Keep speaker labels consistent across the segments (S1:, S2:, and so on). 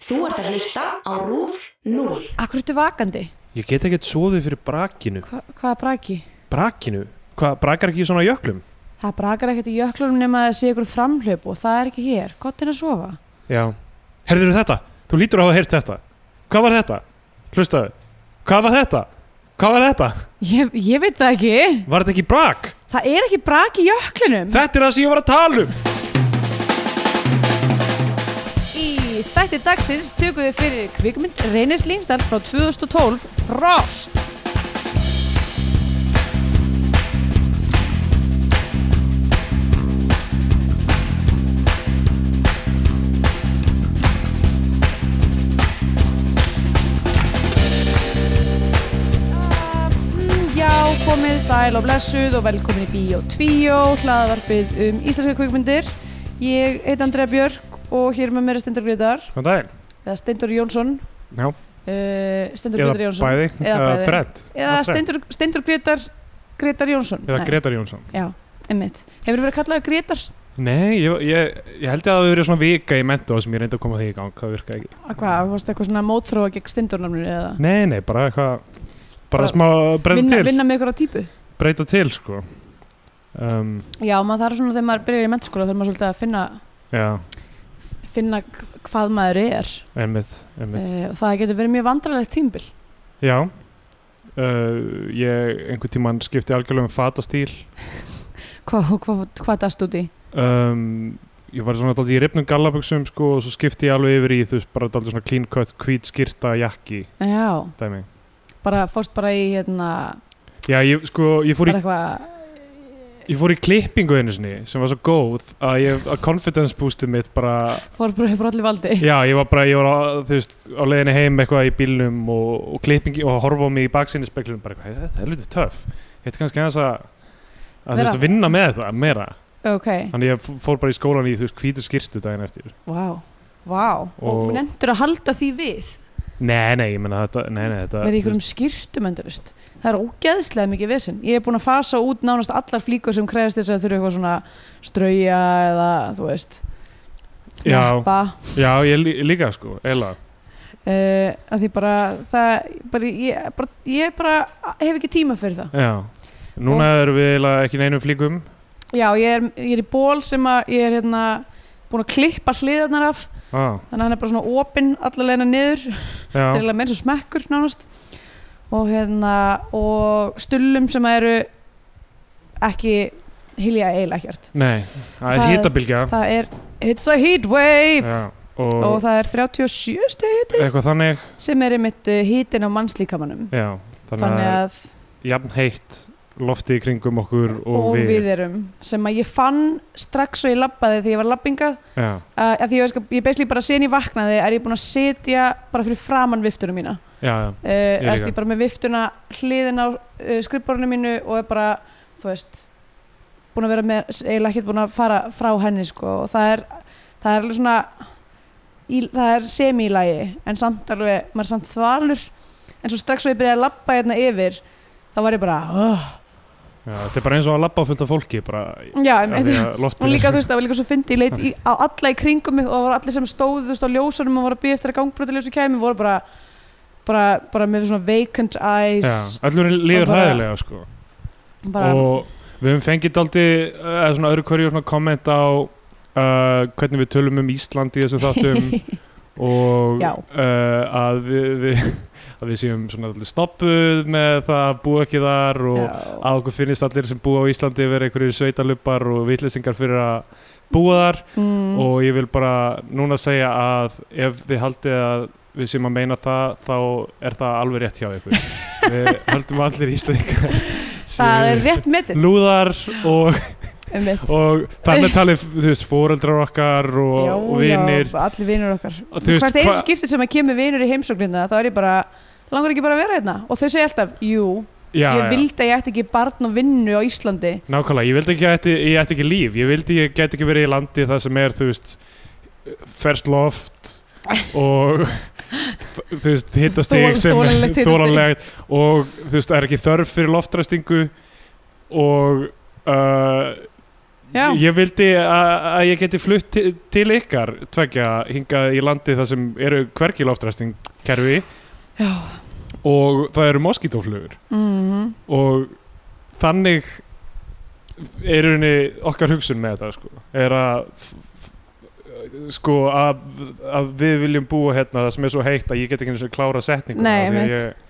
S1: Þú ert að hlusta á RÚF 0.
S2: Akkur ertu vakandi?
S3: Ég get ekkert sofið fyrir brakinu.
S2: Hva, hvað braki?
S3: Brakinu? Hvað, brakar ekki í svona jöklum?
S2: Það brakar ekkert í jöklunum nema að það sé ykkur framhlaup og það er ekki hér. Gott er að sofa.
S3: Já. Herður þetta? Þú lítur á að hafa heyrt þetta. Hvað var þetta? Hlustaðu. Hvað var þetta? Hvað var þetta?
S2: Ég, ég veit það ekki.
S3: Var þetta ekki brak?
S2: Það er ekki braki í jöklunum.
S3: Þetta er það sem ég var að tala um.
S2: Í þætti dagsins tökum við fyrir kvikmynd Reynis Línstad frá 2012 Frost. Ah, Mm, Já, komið sæl og blessuð og velkomin í Bíó 2, hlaðavarpið um íslenska kvikmyndir. Ég heit Andrea Björk og hér með mér er Stendur Grétar,
S3: Hvað það er?
S2: eða Stendur Jónsson,
S3: Já.
S2: uh, Stendur
S3: Eða
S2: Grétar Jónsson.
S3: bæði.
S2: Eða
S3: Eða
S2: bæði.
S3: frend.
S2: Eða
S3: Alfred.
S2: Stendur, Stendur Grétar, Grétar Jónsson.
S3: Eða
S2: Nei,
S3: Gretar Jónsson.
S2: Já, emmitt. Hefur verið kallaðið Grétars?
S3: Nei, ég, ég, ég held að það hefur verið svona vika í mentó sem ég reyndi að koma því í gang. Það virka ekki.
S2: Að Hvað, fórstu eitthvað svona mótþróa gegn Stendurnamnir eða?
S3: Nei, nei, bara eitthvað, bara
S2: Bara
S3: smá breyta
S2: Vinna,
S3: til,
S2: vinna með ykkur á típu?
S3: breyta til, sko. Um,
S2: Já, maður þarf svona þegar maður byrjar í mentaskóla þarf maður svolítið að finna,
S3: já,
S2: finna hvað maður er.
S3: einmitt, einmitt.
S2: Uh, og það getur verið mjög vandrarlegt tímbil.
S3: Já uh, Ég einhvern tímann skipti algjörlega um fatastíl
S2: Hvað hva, hva dast út í?
S3: um, Ég var svona dálítið í ripnum gallabuxum sko, og svo skipti ég alveg yfir í þú veist bara dálítið svona clean cut, hvít skyrta, jakki
S2: Já,
S3: dæmi.
S2: bara fórst bara í hérna,
S3: Já, ég, sko, ég, fór í,
S2: bara eitthvað
S3: ég fór í klippingu einu sinni sem var svo góð að, ég, að confidence boostið mitt bara
S2: fór bara upp allir valdi
S3: Já, ég var bara, ég var á, þú veist, á leiðinni heim eitthvað í bílnum og, og klippingi og að horfa á mig í baksinni speklinum bara eitthvað, "Hey, það er lítið töff Ég ætti kannski aðeins að, að þú
S2: Vera-
S3: veist, vinna með það meira
S2: Ok,
S3: Þannig ég fór bara í skólan í, þú veist, hvítu skýrstu daginn eftir.
S2: vá, vá og, og
S3: Og-
S2: nefndur að halda því við
S3: Nei, nei, ég menna þetta, nei, nei, þetta...
S2: verið ykkur um skýrtum endurist það er ógeðslega mikið vesinn ég er búin að fasa út nánast allar flíkur sem krefst þess að þurfa eitthvað svona strauja eða þú veist
S3: Já.
S2: neppa
S3: Já, ég lí- líka, sko, eila.
S2: uh, að því bara það bara, ég, bara, ég bara hef ekki tíma fyrir það
S3: Já. Núna erum við eila ekki neinum flíkum.
S2: já, ég er, ég er í ból sem að ég er hérna búin að klippa hliðarnar af
S3: Á,
S2: þannig að hann er bara svona opinn allalegna niður
S3: já.
S2: Þetta er eiginlega meira svo smekkur nánast og hérna og stullum sem eru ekki hilja eiginlega ekkert
S3: Nei, það er
S2: Það-
S3: hýtabilgja.
S2: það er It's a heat wave
S3: Já, og,
S2: og það er 37 steg
S3: eitthvað þannig,
S2: sem er einmitt hítin á mannslíkamanum
S3: já. Þannig,
S2: þannig
S3: að,
S2: að
S3: jafn heitt loftið í kringum okkur og,
S2: og
S3: við.
S2: við. erum sem að ég fann strax og ég labbaði þegar ég var labbingað
S3: Já,
S2: uh, að því ég, sko, ég beisli bara sen ég vaknaði er ég búin að setja bara fyrir framann viftunum mína
S3: já, já.
S2: uh,
S3: líka.
S2: erst ég bara með viftuna hliðin á uh, skrifborinu mínu og er bara, þú veist búin að vera með, eiginlega ekkert búin að fara frá henni sko og það er það er alveg svona í, það er semílægi en samt alveg maður er samt þvalur en svo strax svo ég byrjaði að labba hérna yfir þá var ég bara oh.
S3: Já, þetta er bara eins og að labba fullt af fólki, bara...
S2: já,
S3: af því
S2: Mm, einmitt
S3: að loftið-
S2: og líka þú veist það var líka svo fyndi ég leit í, á alla í kringum mig og það voru allir sem stóðu þú veist á ljósunum og voru að býja eftir að gangbrotiljósi kæmi voru bara bara, bara með svona vacant eyes
S3: Já, allur líður
S2: Og bara-
S3: hæðilega, sko.
S2: bara,
S3: og við höfum fengið daldi eða svona öðru hverju svona komment á uh, hvernig við tölum um Ísland í þessum þáttum og
S2: Já.
S3: uh, að, við, við, að við séum svona daldi snoppuð með það að búa ekki þar og
S2: Já.
S3: að okkur finnist allir sem búa á Íslandi vera einhverjir sveitaluppar og vitleysingar fyrir að búa þar
S2: mm,
S3: og ég vil bara núna segja að ef þið haldið að við séum að meina það þá er það alveg rétt hjá ykkur við höldum að allir Íslandingar
S2: það
S3: séu-
S2: er rétt metið
S3: lúðar og,
S2: um
S3: og þar með talið þú veist, fóreldrar okkar og, og vinnir
S2: allir vinnur okkar
S3: Og þú veist,
S2: hvert eins
S3: hva-
S2: skiptið sem að kemur vinnur í heimsóknina þá er ég bara, langar ekki bara að vera hérna og þau segja alltaf, jú,
S3: já,
S2: ég
S3: já,
S2: vildi að ég ætti ekki barn og vinnu á Íslandi
S3: nákvæmlega, ég vildi ekki að ætti- ég ætti ekki líf, ég vildi ég get ekki verið í landi það sem er, þú veist ferst loft og f- þú veist, hittastig
S2: Þol-
S3: sem
S2: þolanlegt hitastig.
S3: þólanlegt og þú veist, það er ekki þörf fyrir loftræstingu og uh,
S2: Já.
S3: Ég vildi að að ég geti flutt til, til ykkar tveggja hingað í landi þar sem eru hvergi loftræstingkerfi
S2: Já.
S3: og það eru moskítóflugur
S2: Mhm.
S3: og þannig er unni okkar hugsun með þetta sko, er að f- f- sko að, að við viljum búa hérna það sem er svo heitt að ég get ekki eins og klára setninguna
S2: Nei,
S3: af því að
S2: einmitt.
S3: ég,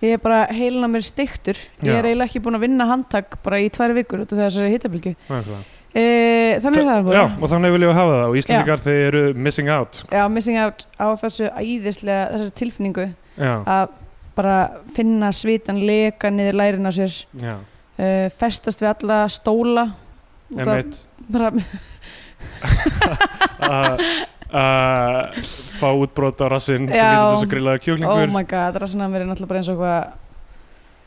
S2: Ég er bara heilin að mér stiktur Ég er
S3: Já.
S2: eiginlega ekki búin að vinna handtak bara í tvær vikur út af þessari hittabilgju
S3: Nákvæmlega.
S2: e, Þannig er það er
S3: Já,
S2: bara
S3: og þannig viljum við hafa það og Íslandingar þeir eru missing out
S2: Já, missing out á þessu æðislega þessari tilfinningu
S3: Já,
S2: að bara finna svitan leka niður lærin á sér
S3: já,
S2: uh, festast við alla stóla Út af-
S3: emitt
S2: bara,
S3: að að fá útbrot á rassinn sem
S2: Já.
S3: er þessu grillaða
S2: oh
S3: kjúklingur
S2: my god, rassin að mér er náttúrulega bara eins og hvað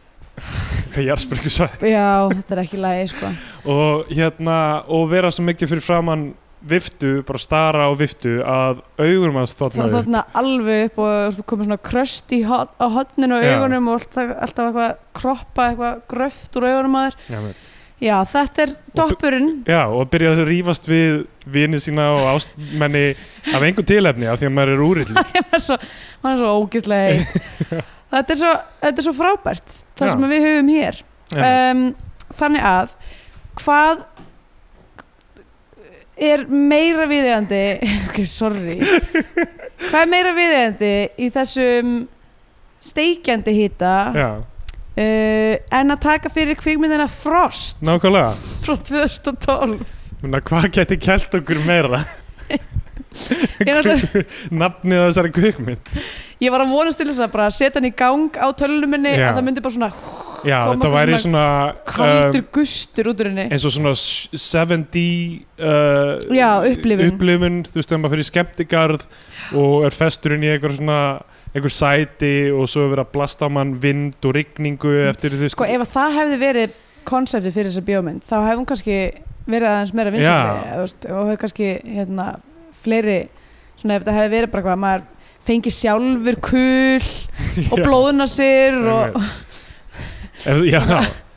S3: hvað jarðsbyrgu sagði
S2: já, þetta er ekki lægi sko.
S3: og hérna og vera svo mikið fyrir framann viftu, bara stara á viftu að augur manns þotna
S2: það
S3: upp
S2: þóttna alveg upp og þú komið svona kröst í hot, á hotninu og
S3: Já.
S2: augunum og alltaf, alltaf eitthvað kroppa, eitthvað gröft úr augunum að þér
S3: Já, með-
S2: já, þetta er doppurinn
S3: Já, og byrja að rífast við vini sína og ástmenni af einhver tilefni af því að maður er úrillur
S2: maður er svo, maður er svo ógislega heitt þetta, er svo, þetta er svo frábært það
S3: Já.
S2: sem við höfum hér um, þannig að hvað er meira viðeigandi ok, sorry hvað er meira viðeigandi í þessum steikjandi hýta uh,
S3: Já,
S2: en að taka fyrir kvikmyndina Frost
S3: nákvæmlega
S2: frá 2012
S3: Muna, Hvað geti kælt okkur meira?
S2: Ég er alltaf-
S3: Nafnið á þessari kvikmynd
S2: ég var að vonast til þess að bara setja hann í gang á tölunum minni
S3: Já.
S2: að það myndi bara svona
S3: Já,
S2: Kom
S3: þetta
S2: okkur
S3: væri svona um,
S2: kaldur gustur út úr henni
S3: eins og svona s- 7D uh,
S2: Já, upplifun.
S3: upplifun, þú veist, þegar maður fyrir skemmtigarð og er festurinn í einhver svona einhver sæti og svo er verið að blasta á mann vind og rigningu eftir þú veist
S2: Sko ef að það hefði verið konseptið fyrir þessa bíómynd þá hefði hún kannski verið aðeins meira
S3: Já.
S2: vinsætli og hefði kannski hérna, fleiri svona ef þetta hefði verið bara hvað maður fengi sjálfur kul og
S3: Já,
S2: blóðuna sér og,
S3: ef, já,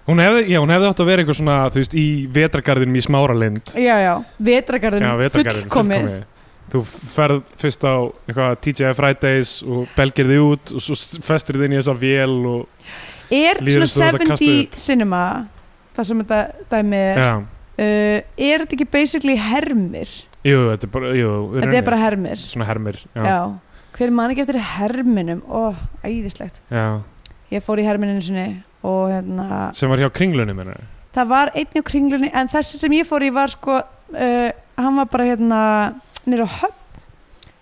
S3: hún hefði, já, hún hefði átt að vera einhver svona, þú veist, í vetragarðinum í smáralind
S2: já, já, vetragarðin
S3: já, vetragarðinum,
S2: fullkomið
S3: þú ferð fyrst á eitthvað TGI Fridays og belgir þig út og svo s- festir þig inn í þessa vél og,
S2: er
S3: Líður eins og þú
S2: svona
S3: ert að kasta
S2: 70 cinema það sem þetta dæmi er uh,
S3: já,
S2: er þetta ekki basically hermir
S3: jú, þetta er bara, jú, í
S2: þetta
S3: rauninni.
S2: er bara hermir
S3: svona hermir, já,
S2: já. hver man ekki eftir herminum ó, æðislegt
S3: já.
S2: ég fór í hermininu sinni og hérna,
S3: sem var hjá kringlunni minna
S2: það var einni á kringlunni en þessi sem ég fór í var sko uh, hann var bara hérna nýra á höfn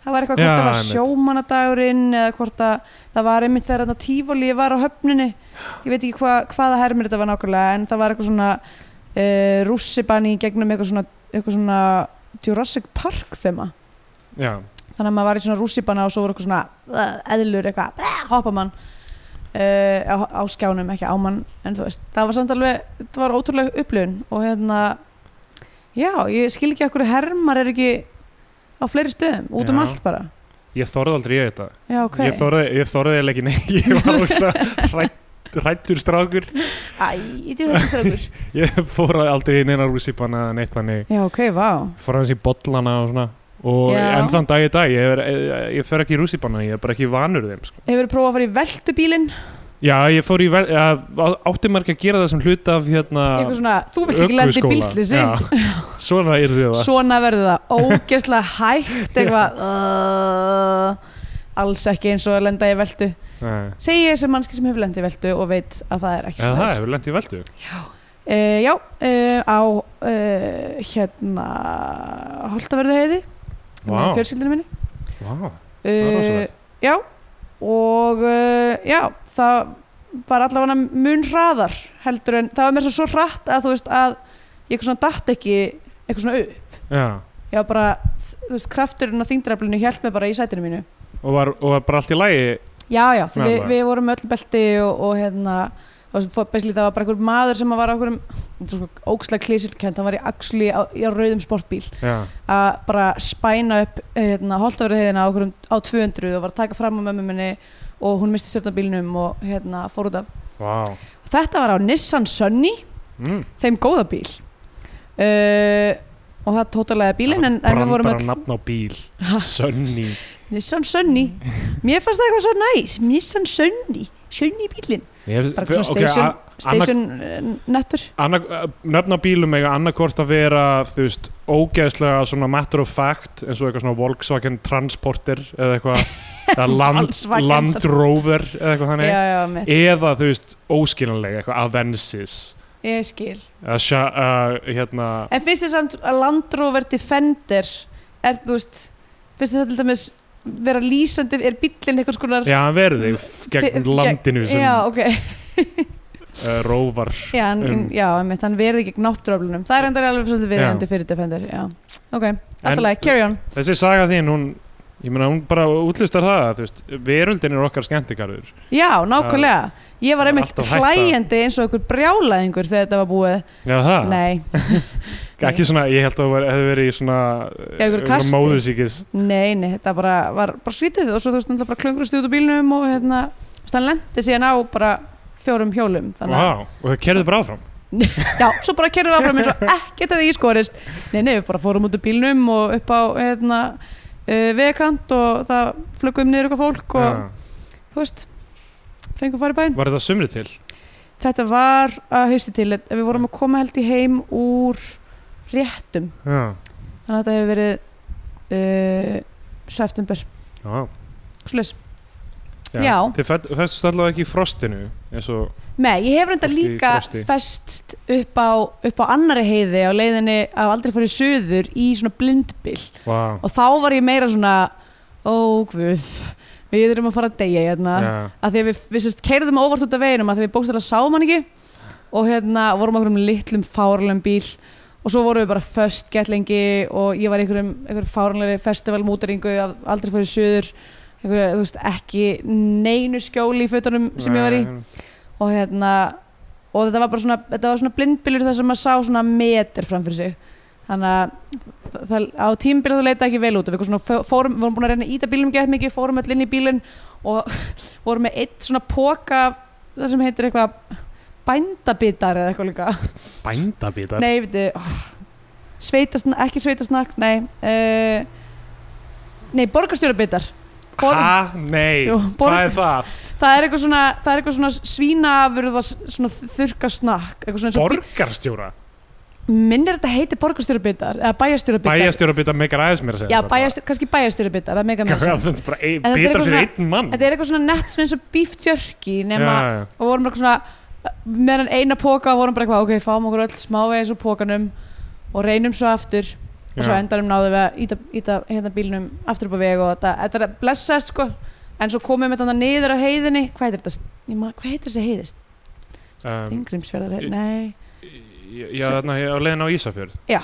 S2: það var eitthvað hvort
S3: Já,
S2: það var
S3: einmitt.
S2: sjómanadagurinn eða hvort að það var einmitt þegar hérna tífóli ég var á höfninni ég veit ekki hva, hvaða hermir þetta var nákvæmlega en það var eitthvað svona uh, rússibanni í gegnum eitthvað svona, eitthvað svona Jurassic Park þema
S3: já,
S2: þannig að maður var í svona rússipanna og svo voru eitthvað svona uh, eðlur eitthvað, uh, hoppa mann uh, á, á skjánum, ekki á mann en þú veist, það var samt alveg þetta var ótrúlega upplifun og hérna já, ég skil ekki okkur hermar er ekki á fleiri stöðum, út um
S3: Já.
S2: allt bara
S3: ég þorði aldrei í þetta
S2: já, ok,
S3: ég þorði, ég þorði eiginlega ekki neitt ég var ógsta rættur strákur
S2: æ, ég dýr ekki strafur
S3: ég fór aldrei í neina rússipanna eða neitt þannig
S2: já, ok, vá,
S3: fór hans í bollana og svona og
S2: Já.
S3: enn þann dag í dag ég, er, ég, ég fer ekki í rússipanna, ég er bara ekki vanur þeim sko.
S2: hefur prófað að fara í veltubílin
S3: já, ég fór í vel- að- á- átti marg að gera það sem hlut af hérna
S2: eitthvað svona, þú vilt ekki lendi
S3: ökuskóla.
S2: bílslisi
S3: Já, svona er því það
S2: svona verður það ógeðslega hægt eitthvað uh, alls ekki eins og að lenda í veltu
S3: Nei.
S2: segi ég sem mannski sem hefur lendið í veltu og veit að það er ekki
S3: Já, það
S2: svona
S3: hefur lent í veldu
S2: uh, já, uh, á uh, hérna Holtaverðuheiði með
S3: Vá.
S2: fjölskyldinu minni
S3: Vá, það er
S2: uh,
S3: rosalegt.
S2: já og uh, já, það var allavega mun hraðar heldur en það var mér svo, svo hratt að þú veist að ég eitthvað svona datt ekki eitthvað svona upp
S3: Já,
S2: ég var bara, þú veist, krafturinn á þingdraflinu hjælt mig bara í sætinu mínu
S3: og var, og var bara allt í lagi
S2: Já, já, því
S3: Já,
S2: við,
S3: bara.
S2: við vorum með öll belti og, og hérna og svo fór- basically það var bara einhver maður sem var á einhverjum ókslega klísilkend, hann var í axli á, í á rauðum sportbíl
S3: Já,
S2: að bara spæna upp hérna, holtafriðina á, einhverjum- á 200 og var að taka fram á mömmu minni og hún misti stjórnabílnum og hérna fór út af
S3: vá
S2: Þetta var á Nissan Sunny,
S3: mm.
S2: þeim góða bíl uh, og það tótalaði bílinn en, en við vorum
S3: Brandara
S2: öll
S3: nafn á bíl
S2: Ha.
S3: Sunny
S2: Nissan Sunny mér fannst það eitthvað svo næs Nissan Sunny, Sunny bílinn
S3: Mér finnst-
S2: bara svona
S3: ok,
S2: station,
S3: a-
S2: station eh, nettur
S3: anna- Nöfn á bílum eiga annarkvort að vera þú veist, ógeðslega svona matter of fact eins og eitthvað svona Volkswagen Transporter eða eitthvað eða land,
S2: Volkswagen
S3: Land Rover eða eitthvað
S2: já,
S3: þannig
S2: já, mitt,
S3: eða þú veist óskiljanlega eitthvað Avensis
S2: ég skil
S3: eða sha, uh, hérna
S2: En finnst þér samt að Land Rover Defender er, þú veist, finnst þér það til dæmis vera lýsandi, er bíllinn eitthvað skonar
S3: Já, hann verði gegn
S2: Fe-
S3: landinu sem
S2: Já, ok,
S3: uh, róvar
S2: já, en,
S3: Um.
S2: já, einmitt, hann verði gegn náttúröflunum Það er enda alveg svolítið viðjandi
S3: Já.
S2: fyrir Defender, já Ok,
S3: En-
S2: alltaf leið, carry on
S3: Þessi saga þín, hún ég meina, hún bara útlistar það þú veist, veröldin er okkar skemmtikarður
S2: Já, nákvæmlega, ég var
S3: Það er
S2: einmitt
S3: alltaf hægt að-
S2: hlæjandi eins og einhver brjálaðingur þegar þetta var búið
S3: Já, það,
S2: Nei,
S3: ekki svona ég held að það var- hefði verið í svona eh,
S2: Já, einhverju kasti.
S3: móðusíkis
S2: Nei, nei, þetta bara var bara skrítið og svo þú veist, náttúrulega bara klöngrust út á bílnum og hérna, þú veist, hann lendi síðan á bara fjórum hjólum þannig að-
S3: Vá, og það kerði bara áfram
S2: Já, svo bara kerðum við áfram eins og ekkert að því skorist Nei, nei, við bara fórum út úr bílnum og upp á hérna, uh, vegkant og það flöggum niður eitthvað fólk og
S3: Já.
S2: þú veist, fengum að fara í bæn
S3: Var þetta sumri til?
S2: Þetta var að hausti til, við vorum að koma held í heim úr réttum
S3: Já,
S2: þannig að þetta hefur verið uh, september,
S3: já,
S2: slis
S3: já.
S2: Já.
S3: Þið fætt- festust allavega ekki í frostinu eins og
S2: Nei, ég hef reynda
S3: Fólk í
S2: líka
S3: frosti.
S2: festst upp á, upp á annari heiði á leiðinni að aldrei farið suður í svona blindbíl
S3: Vá,
S2: og þá var ég meira svona ó guð, við erum að fara að deyja hérna,
S3: já,
S2: að því að við, við sérst keirðum óvart út af veginum að því við bókstæðlega sáum hann ekki og hérna vorum okkur um litlum fárlegum bíl og svo vorum við bara föst gett lengi og ég var í einhverjum, einhverjum fárlegri festivalmúteringu af aldrei farið suður einhverju, þú veist, ekki neinu skjóli í fötunum sem ég var í og hérna og þetta var bara svona, þetta var svona blindbylur þar sem maður sá svona meter framfyrir sig þannig að þa- það, á tímbilið þú leita ekki vel út og við eitthvað svona fó- fórum, vorum búin að reyna að íta bílum gett mikið, fórum öll inn í bílinn og vorum með eitt svona póka það sem heitir eitthvað bændabitar eða eitthvað líka
S3: Bændabítar
S2: nei, veitu oh, sveitasn, ekki sveitasnakk, nei uh, nei, borgarstjórabitar Bor-
S3: Ha, nei,
S2: Jú, borg-
S3: hvað er það?
S2: það er eitthvað svona, það er eitthvað svona svínafurða svona þurka snakk eitthvað svona eins og bí-
S3: Borgarstjóra?
S2: minnir þetta heiti borgarstjórabitar eða bæjarstjórabitar
S3: Bæjarstjórabitar meikar aðeins mér að segja
S2: já, bæjarstjóra, kannski bæjarstjórabitar það er mega með
S3: Það
S2: þess
S3: er bara ein,
S2: En þetta er
S3: bitar
S2: eitthvað
S3: fyrir
S2: svona-
S3: einn mann
S2: þetta er eitthvað svona nett svona eins og bíftjörki nema,
S3: Já, já.
S2: og vorum bara svona meðan eina póka vorum bara eitthvað ok, fáum okkur öll smávegis úr pókanum og reynum svo aftur og svo
S3: Já.
S2: endanum náðum við að íta, íta hérna bílnum aftur upp á veg og þetta, þetta er að blessast sko en svo komum við þetta niður á heiðinni hvað heitir þetta, Ég man- hvað heitir þessi heiðist?
S3: Um,
S2: Þingrimsfjörðar,
S3: í-
S2: nei
S3: Um, Já, þarna á leiðin á Ísafjörð
S2: Já.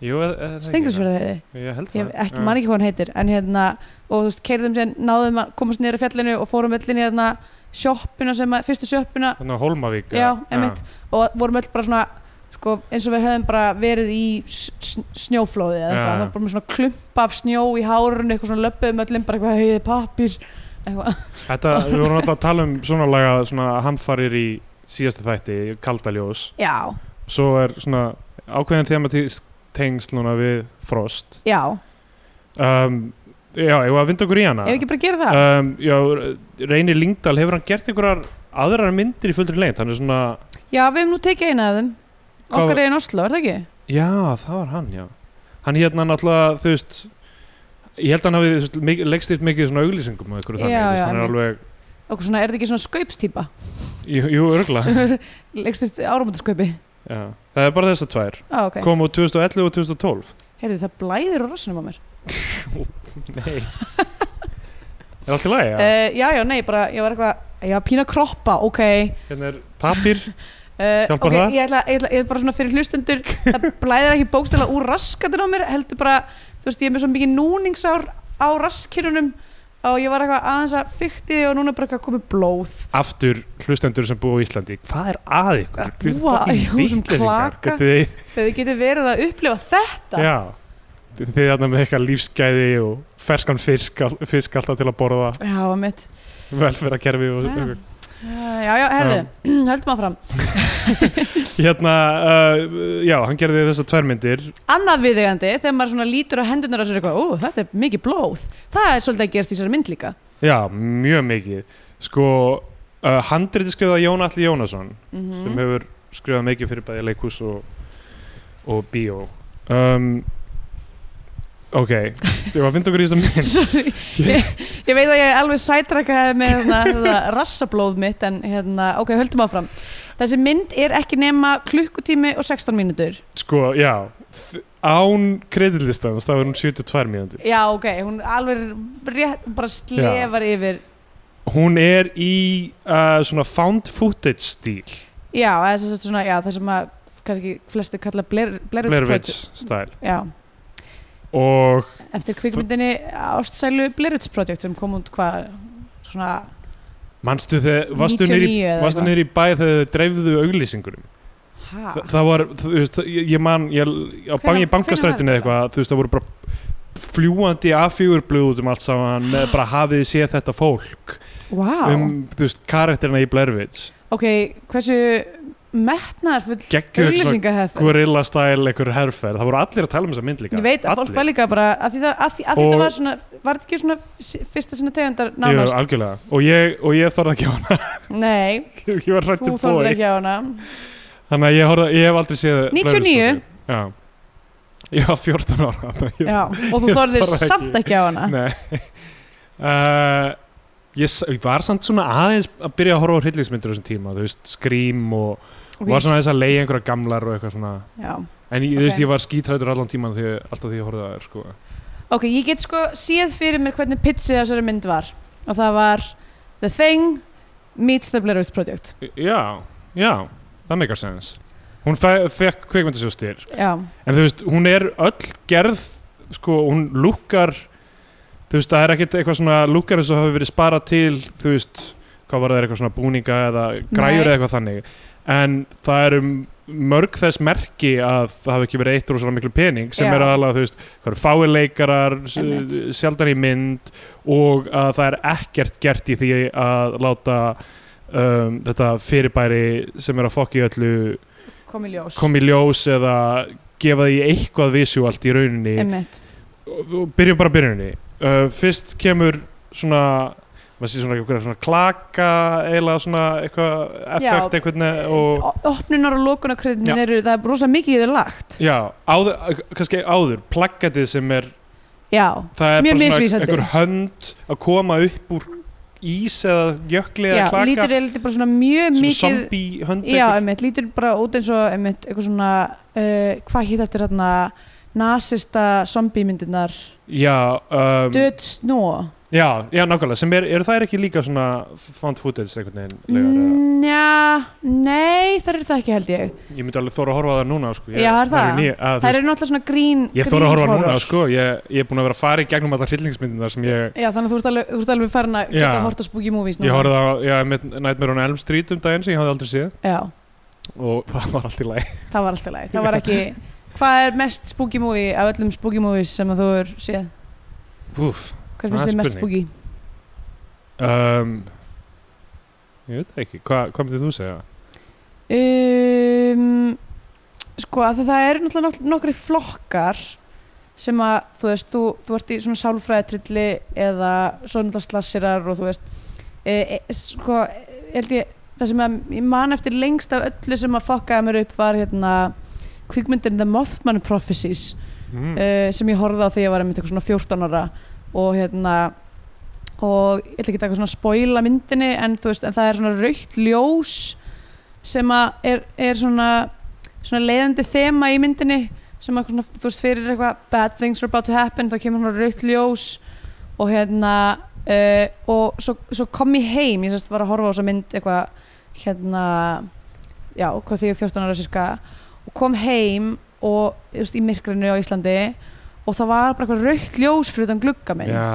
S3: Jú, er- er það ekki?
S2: Stengriðsfjörðarheiði,
S3: Ég held
S2: ég
S3: það
S2: hef ekki, man ekki hvað hann heitir en hérna, og þú veist, keirðum sér náðum að komast niður á fjallinu og fórum öll inn í hérna sjoppuna sem að, fyrstu sjoppuna
S3: Þannig að Hólmavík
S2: já, einmitt, og vorum öll bara svona sko, eins og við höfum bara verið í s- s- snjóflóði eða
S3: Já,
S2: eitthvað,
S3: já.
S2: það var bara með svona klumpa af snjó í hárun, eitthvað svona löppuðum öllum bara eitthvað heiði pappir, eitthvað
S3: Þetta, við vorum alltaf að tala um svona laga svona hamfarir í síðasta þætti kaldaljós,
S2: já,
S3: svo er svona ákveðin thematísk tengsl núna við frost
S2: já,
S3: um, Já, ég var að vinda okkur í hana
S2: ef ekki bara gera það
S3: um, Já, Reynir Lingdal hefur hann gert einhverjar aðrar myndir í fullri lengt hann er svona,
S2: já, við hefum nú tekið eina af þeim
S3: Hvað var-
S2: okkar eigin Oslo, er það ekki?
S3: já, það var hann já. hann hérna náttúrulega þú veist, ég held að hann hafi þú veist, mik- leikstýrt mikið svona auglýsingum og einhverju
S2: Já,
S3: þannig, þú veist,
S2: já,
S3: hann er alveg
S2: okkur svona, er það ekki svona skaupstýpa
S3: jú, jú örgla
S2: sem er leikstýrt áramöndaskaupi
S3: það er bara þessar tvær
S2: ah, okay.
S3: kom úr 2011 og 2012
S2: Heyrðu, það blæðir úr rassinum á mér.
S3: Nei Er allt í lagi?
S2: Já.
S3: Ja?
S2: Eh, já, já, nei, bara, ég var eitthvað, ég var pína að kroppa, ok.
S3: Hérna er pappir
S2: Uh,
S3: Hjálpar
S2: ok,
S3: það?
S2: Ég ætla, ég ætla, ég ætla bara svona fyrir hlustundur, það blæðir ekki bókstæla úr raskatinn á mér, heldur bara, þú veist, ég er með svo mikið núningsár á raskinnunum og ég var eitthvað aðeins að fykti því og núna er bara eitthvað komið blóð.
S3: Aftur hlustendur sem búa á Íslandi Hvað er að ykkur? Þið eru
S2: Eh, Vá,
S3: fucking
S2: í húsum
S3: vitleysingar.
S2: klaka.
S3: Getið þið-
S2: Þegar þið getur verið að upplifa þetta.
S3: Já Þið þið þarna með eitthvað lífsgæði og ferskan fisk, al- fisk alltaf til að borða
S2: Já, mitt. Eh.
S3: velferðarkerfi og
S2: Já. Uh, já, já, herðu, höldum áfram.
S3: Hérna, uh, já, hann gerði þessar tvær myndir
S2: Annað viðegandi, þegar maður svona lítur á hendunar og sér eitthvað, ú, þetta er mikið blóð. Það er svolítið að gerast í þessari mynd líka.
S3: Já, mjög mikið Sko, uh, handriti skrifaði Jón Atli Jónasson
S2: Mhm.
S3: sem hefur skrifað mikið fyrir bæði leikhús og, og bíó um, Ok, ég var að finna okkur í þess að mynd
S2: Sorry, ég, ég veit að ég alveg sætrakaði með hérna, þetta rassablóð mitt en hérna, ok, höldum áfram þessi mynd er ekki nema klukkutími og 16 mínútur
S3: Sko, já þ- Án kreditlistans, það var hún 72 mínútur
S2: já, ok, hún alveg rétt, bara slefar yfir
S3: Hún er í uh, svona found footage stíl
S2: já, þess að svona, já, það sem að kannski flesti kalla Blair, Blair, Witch
S3: Blair
S2: Project
S3: Witch stæl
S2: já,
S3: Og
S2: eftir kvikmyndinni ástsælu Blair Witch Project sem kom út hvað svona,
S3: manstu þegar, varstu niður
S2: 99
S3: í,
S2: eða eitthvað.
S3: varstu
S2: Ah.
S3: niður í bæ þegar þau dreifðu auglýsingurum
S2: ha,
S3: Þa, það var, þú veist, ég, ég man ég, á
S2: Hvenær-
S3: bangi
S2: hvenær
S3: bankastrættinu
S2: var
S3: eða eitthvað, þú veist, það voru bara fljúandi A4 blöð út um allt saman með bara hafið þið séð þetta fólk
S2: wow
S3: um, þú veist, karakterina í Blair Witch
S2: ok, hversu metnaðarfull
S3: geggjur
S2: auglýsingahefð
S3: gorilla style, einhver herrferð, það voru allir að tala um þessa mynd líka
S2: Ég veit að fólk var líka bara að því, það, að því, að því
S3: Og-
S2: þetta var svona, var þetta ekki svona s- fyrsta sinna tegundar
S3: Jú,
S2: nánast?
S3: algjörlega, og ég, og ég þorði ekki á hana
S2: Nei,
S3: ég var
S2: þú
S3: hrættu
S2: þorður
S3: bói
S2: ekki á hana.
S3: þannig að ég, horfði, ég hef aldrei séð Blair Witch
S2: 99?
S3: Project. já, ég var 14 ára þannig að ég-
S2: Já, og þú
S3: ég
S2: þorðir
S3: þorði ekki.
S2: samt ekki á hana.
S3: Nei uh, ég, s- ég var samt svona aðeins að byrja að horfa á hryllingsmyndir á þessum tíma, þú veist, skrím og
S2: Ok,
S3: var svona aðeins að leiða einhverja gamlar og eitthvað svona
S2: Já.
S3: en ég,
S2: Ok.
S3: þú veist, ég var skítrættur allan tíman því, alltaf því ég horfði að það er sko
S2: Ok, ég get sko séð fyrir mér hvernig pitsið á þessari mynd var og það var The Thing meets the Blair Witch Project.
S3: já, já, það meikar sens hún fe fekk kveikmyndasjóðstyr
S2: Já,
S3: en þú veist, hún er öll gerð sko, hún lukkar þú veist, það er ekkert eitthvað svona lukkar eins og hafi verið sparað til þú veist, hvað var það eitthvað svona búninga eða græjur
S2: Nei.
S3: eða eitthvað þannig en það eru mörg þess merki að það hafi ekki verið eitt rosalega miklu pening sem
S2: Já.
S3: er aðalega, þú veist, hvað eru fáir leikarar s-
S2: Einmitt.
S3: sjaldan í mynd og að það er ekkert gert í því að láta um, þetta fyrirbæri sem er að fokki öllu
S2: kom í ljós.
S3: kom í ljós eða gefa því eitthvað visuált í rauninni
S2: Einmitt.
S3: og og byrjum bara á byrjuninni uh, fyrst kemur svona maður sé svona eitthvað svona klaka eiginlega svona eitthvað effekt einhvern veginn og
S2: O- Opnunar og lokunarkriðin
S3: Já.
S2: eru, það er rosa mikið í þau lagt.
S3: já, áður, kannski áður plaggatið sem er,
S2: Já,
S3: það er
S2: Mjög
S3: bara
S2: misvísandi.
S3: einhver hönd að koma upp úr ís eða jökli
S2: já,
S3: eða klaka
S2: lítur er bara svona mjög
S3: svona
S2: mikið
S3: zombie hönd
S2: Já,
S3: einhver.
S2: einmitt, lítur bara út eins og einmitt, eitthvað svona, uh, hvað hétt eftir hérna nasista zombie-myndirnar
S3: já, um,
S2: Död snó
S3: já, já, nákvæmlega sem er, eru þær ekki líka svona found footage einhvern veginn legar, eða?
S2: Nja, nei, það eru það ekki held ég
S3: Ég myndi alveg þóra að horfa á það núna sko. ég,
S2: Já, er það?
S3: ný, að,
S2: Það
S3: það
S2: eru náttúrulega svona grín
S3: Ég þóra að horfa á það núna sko. ég, ég er búin að vera að fara í gegnum alltaf hryllingsmyndina sem ég,
S2: Já, þannig að þú ert alveg, þú ert alveg farin að
S3: Já.
S2: geta að horta spooky movies núna
S3: ég horfði á já, einmitt Nightmare on Elm Street um daginn sem ég hafði aldrei séð
S2: Já,
S3: og það var allt í læg
S2: það var alltaf leið, það var ekki Hvað er mest spooky movie af öllum spooky movies sem að þú er séð?
S3: Úf,
S2: Hvað
S3: Það
S2: finnst
S3: er
S2: þið mest spooky?
S3: spurning. um, Ég veit það ekki, Hva, hvað myndið þú segja?
S2: um, sko að það eru náttúrulega nok- nokkri flokkar sem að þú veist, þú, þú ert í svona sálfræðitrilli eða svo náttúrulega slassirar og þú veist e, e, sko, held ég það sem að ég man eftir lengst af öllu sem að fokkaði mér upp var hérna kvikmyndin The Mothman Prophecies
S3: Mm.
S2: uh, sem ég horfði á þegar ég var einmitt eitthvað svona 14 ára og hérna og ég ætla ekki að taka svona að spoila myndinni en þú veist, en það er svona raukt ljós sem að er, er svona svona leiðandi þema í myndinni sem að svona, þú veist, fyrir eitthvað bad things are about to happen, þá kemur svona raukt ljós og hérna uh, og svo, svo kom ég heim ég sérst var að horfa á þessa mynd eitthvað hérna, já, hvað því ég er 14 ára sirka og kom heim og, þú veist, í myrkrinu á Íslandi og það var bara eitthvað raukt ljós fyrir utan glugga minn
S3: Já,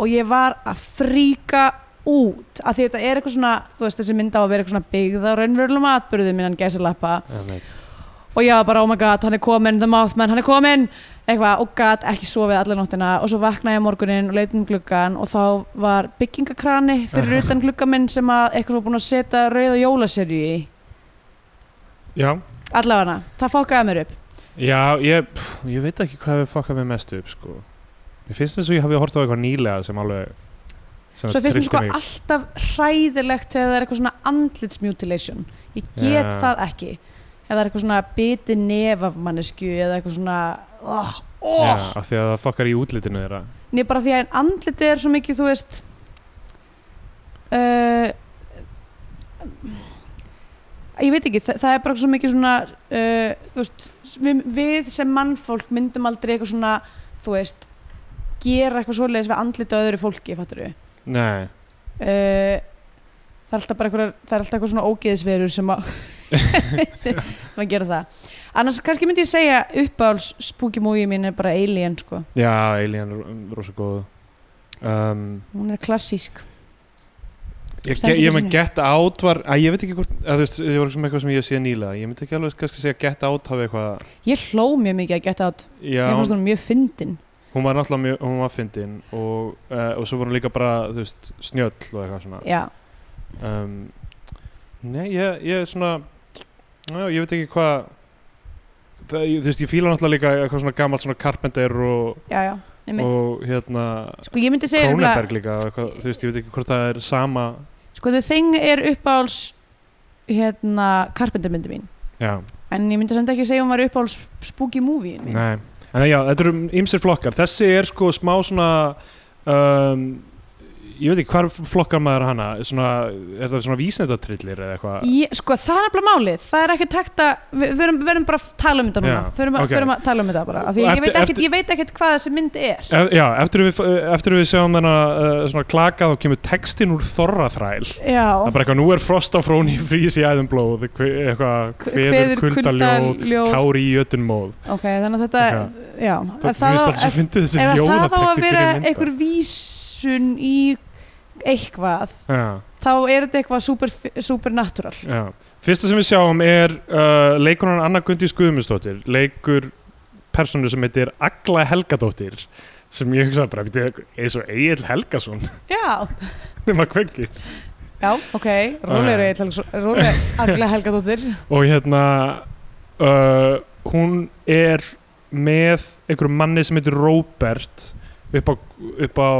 S2: og ég var að fríka út af því þetta er eitthvað svona, þú veist þessi mynd á að vera eitthvað svona byggð á raunverulegum atbyrðum innan gæsilappa
S3: einmitt.
S2: og ég var bara oh my god hann er kominn, the Mothman, hann er kominn eitthvað og gat ekki sofið allar nóttina og svo vaknaði ég á morguninn og leitin um gluggan og þá var byggingakrani fyrir utan glugga minn sem að eitthvað var búin að setja rauða jólaserju í
S3: Já,
S2: allavega, það fokkaði mér upp
S3: já ég, pff, ég veit ekki hvað við fokkað með mest upp sko. Mér finnst þess að ég hafi hort á eitthvað nýlega sem alveg sem
S2: svo finnst mér
S3: tryllti
S2: sko alltaf hræðilegt þegar það er eitthvað svona andlitsmutilation ég get
S3: Já.
S2: það ekki ef það er eitthvað svona biti nef af mannesku eða eitthvað svona oh,
S3: Já,
S2: oh.
S3: af því að það fokkar í útlitinu þeirra
S2: Nei, bara því að andliti er svo mikið, þú veist uh, Ég veit ekki, það, það er bara svo mikið svona uh, Þú veist, við, við sem mannfólk myndum aldrei eitthvað svona Þú veist, gera eitthvað svoleiðis við andliti á öðru fólki, fattur við
S3: Nei,
S2: uh, Það er alltaf bara eitthvað, það er alltaf eitthvað svona ógeðisverur sem að maður gera það Annars kannski myndi ég segja uppáhalds spooky movie mín er bara Alien sko
S3: já, Alien er rosa góð um,
S2: Hún er klassísk
S3: Ég,
S2: Stendur
S3: ge-
S2: í
S3: ég með
S2: sínu.
S3: Get Out var, að ég veit ekki hvort, að þú veist, það var eitthvað sem ég hef séð nýlega, ég myndi ekki alveg kannski segja Get Out hafi eitthvað,
S2: Ég hló mjög mikið að geta át
S3: já,
S2: Mér fannst
S3: hún,
S2: hún mjög fyndin
S3: hún var náttúrulega mjög, hún var fyndin og, uh, og svo var hún líka bara, þú veist, snjöll og eitthvað svona.
S2: Já,
S3: Um, nei, ég, ég er svona, já, ég veit ekki hvað, það, ég, þú veist, ég fíla náttúrulega líka eitthvað svona gamalt svona Carpenter og,
S2: já, já, nefnt
S3: og hérna,
S2: Sko ég myndi segja nefnilega-
S3: Kronenberg líka, og eitthvað, þú veist, ég veit ekki hvort það er sama,
S2: Sko the thing er uppáhalds hérna, karpendarmyndi mín
S3: já.
S2: En ég myndi samt ekki segja hún var uppáhalds spooky movie mín
S3: Nei, en já, þetta eru ymsir flokkar Þessi er sko smá svona um, Ég veit ekki hvar flokkar maður hana svona, Er það svona vísendatrillir eða eitthvað
S2: Ég, sko það er nefnilega málið, það er ekki takt að við verum, verum bara að tala um þetta núna
S3: Já,
S2: yeah, förum, að,
S3: ok.
S2: förum að tala um þetta bara, af því
S3: Og
S2: ég, veit
S3: eftir-
S2: ekkit, ég veit ekkit hvað þessi mynd er
S3: e Já, eftir við, eftir við sjáum þennan uh, svona klaka þá kemur textin úr þorraþræl
S2: Já,
S3: Það er bara eitthvað, nú er frost á fróni frís í æðum blóð hve- eitthvað,
S2: K-
S3: kveður kuldaljóð
S2: kuldaljó-
S3: kári í jötunmóð
S2: Ok, þannig að þetta, já
S3: Það
S2: ef
S3: finnst alltaf
S2: ef-
S3: svo fyndið þessi
S2: ef það þá að
S3: ljóðatekst
S2: vera
S3: í byrjun
S2: einhver
S3: myndar
S2: vísun í eitthvað
S3: Já,
S2: þá er þetta eitthvað super, supernatural
S3: já Fyrsta sem við sjáum er uh, leikunan Anna Gundís Guðmundsdóttir leikur personu sem heitir Agla Helgadóttir sem ég hugsaði bara, "Bíddu, eins og Egil Helgason
S2: Já,
S3: nema kvenkis
S2: já, ok Rólegur eitthvað, rólegur Agla Helgadóttir
S3: og hérna uh, hún er með einhverjum manni sem heitir Robert upp á, upp á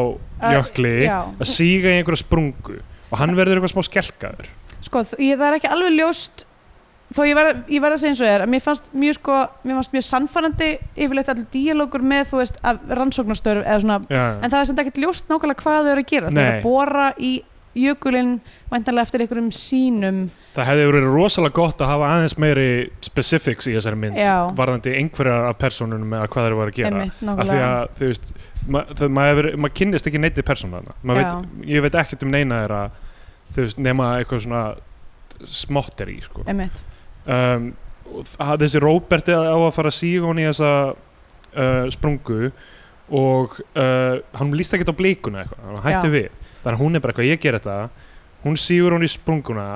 S2: Að-
S3: jökli
S2: Já,
S3: að síga í einhverja sprungu og hann verður eitthvað smá skelkaður
S2: sko, þ- ég, það er ekki alveg ljóst þó ég verð ég verð að segja eins og þér að mér fannst mjög sko, mér fannst mjög sannfærandi yfirleitt allur díalógur með, þú veist, af rannsóknarstörf eða svona,
S3: já,
S2: en það er sem ekkert ljóst nákvæmlega hvað þau eru að gera, þau eru
S3: Nei.
S2: að bora í jökulinn, væntanlega eftir einhverjum sínum
S3: það hefði verið rosalega gott að hafa aðeins meiri specifics í þessari mynd
S2: Já.
S3: varðandi einhverjar af personunum með hvað þeir voru að gera
S2: einmitt,
S3: af því
S2: nákvæmlega
S3: að þú veist ma- það- maður hefur- maður kynnist ekki neitt í persónu þarna Maður veit, ég veit ekkert um neina þeirra þú veist nema eitthvað svona smotter í sko
S2: einmitt,
S3: um, og það- þessi Róbert er á að fara að síga hún í þessa uh, sprungu og uh, hann líst ekkert á blíkuna eitthvað, hann hætti
S2: Já.
S3: við þannig að hún er bara eitthvað, ég ger þetta hún sígur hún í sprunguna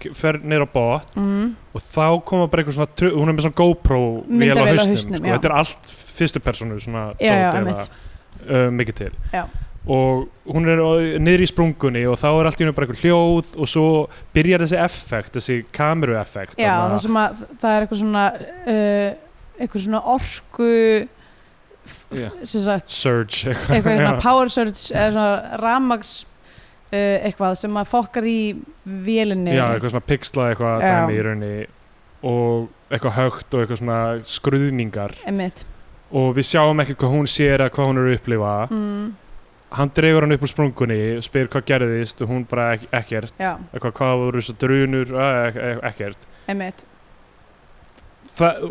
S3: k- fer neyra á bot
S2: mm,
S3: og þá koma bara eitthvað svona tru- hún er með svona GoPro vél á
S2: Myndavél á
S3: hausnum,
S2: hausnum,
S3: sko.
S2: já.
S3: þetta er allt fyrstu personu svona
S2: Já, já,
S3: dót eða
S2: einmitt.
S3: uh, mikið til
S2: Já.
S3: og hún er á- niðri í sprungunni og þá er allt í hennu bara eitthvað hljóð og svo byrjar þessi effekt, þessi kameru effekt
S2: já, það sem að það er eitthvað svona uh, eitthvað svona orku f- f-
S3: Já.
S2: sem sagt
S3: surge eitthvað.
S2: eitthvað
S3: Já.
S2: hérna power surge eða svona ramags uh, eitthvað sem maður fokkar í vélinni
S3: já, eitthvað svona pixla eitthvað
S2: Já.
S3: dæmi í raunni og eitthvað högt og eitthvað svona skruðningar
S2: einmitt
S3: og við sjáum ekki hvað hún sér eða hvað hún er að upplifa
S2: mm,
S3: hann dregur hann upp úr sprungunni spyr hvað gerðist og hún bara ek ekkert
S2: já,
S3: eitthvað hvað voru þessar drunur Æ, ek ek ekkert
S2: einmitt
S3: það,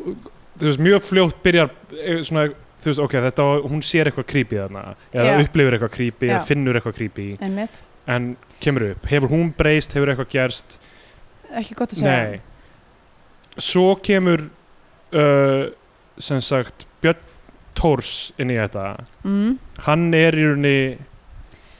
S3: þú veist, mjög fljótt byrjar eh, svona, þú veist, ok, þetta var- hún sér eitthvað creepy þarna eða
S2: Já.
S3: upplifir eitthvað creepy eða
S2: Já.
S3: finnur eitthvað creepy
S2: einmitt
S3: en kemur upp, hefur hún breyst, hefur eitthvað gerst
S2: ekki gott að segja
S3: Nei Svo kemur uh, sem sagt Björn Tórs inn í þetta
S2: mm,
S3: hann er í rauninni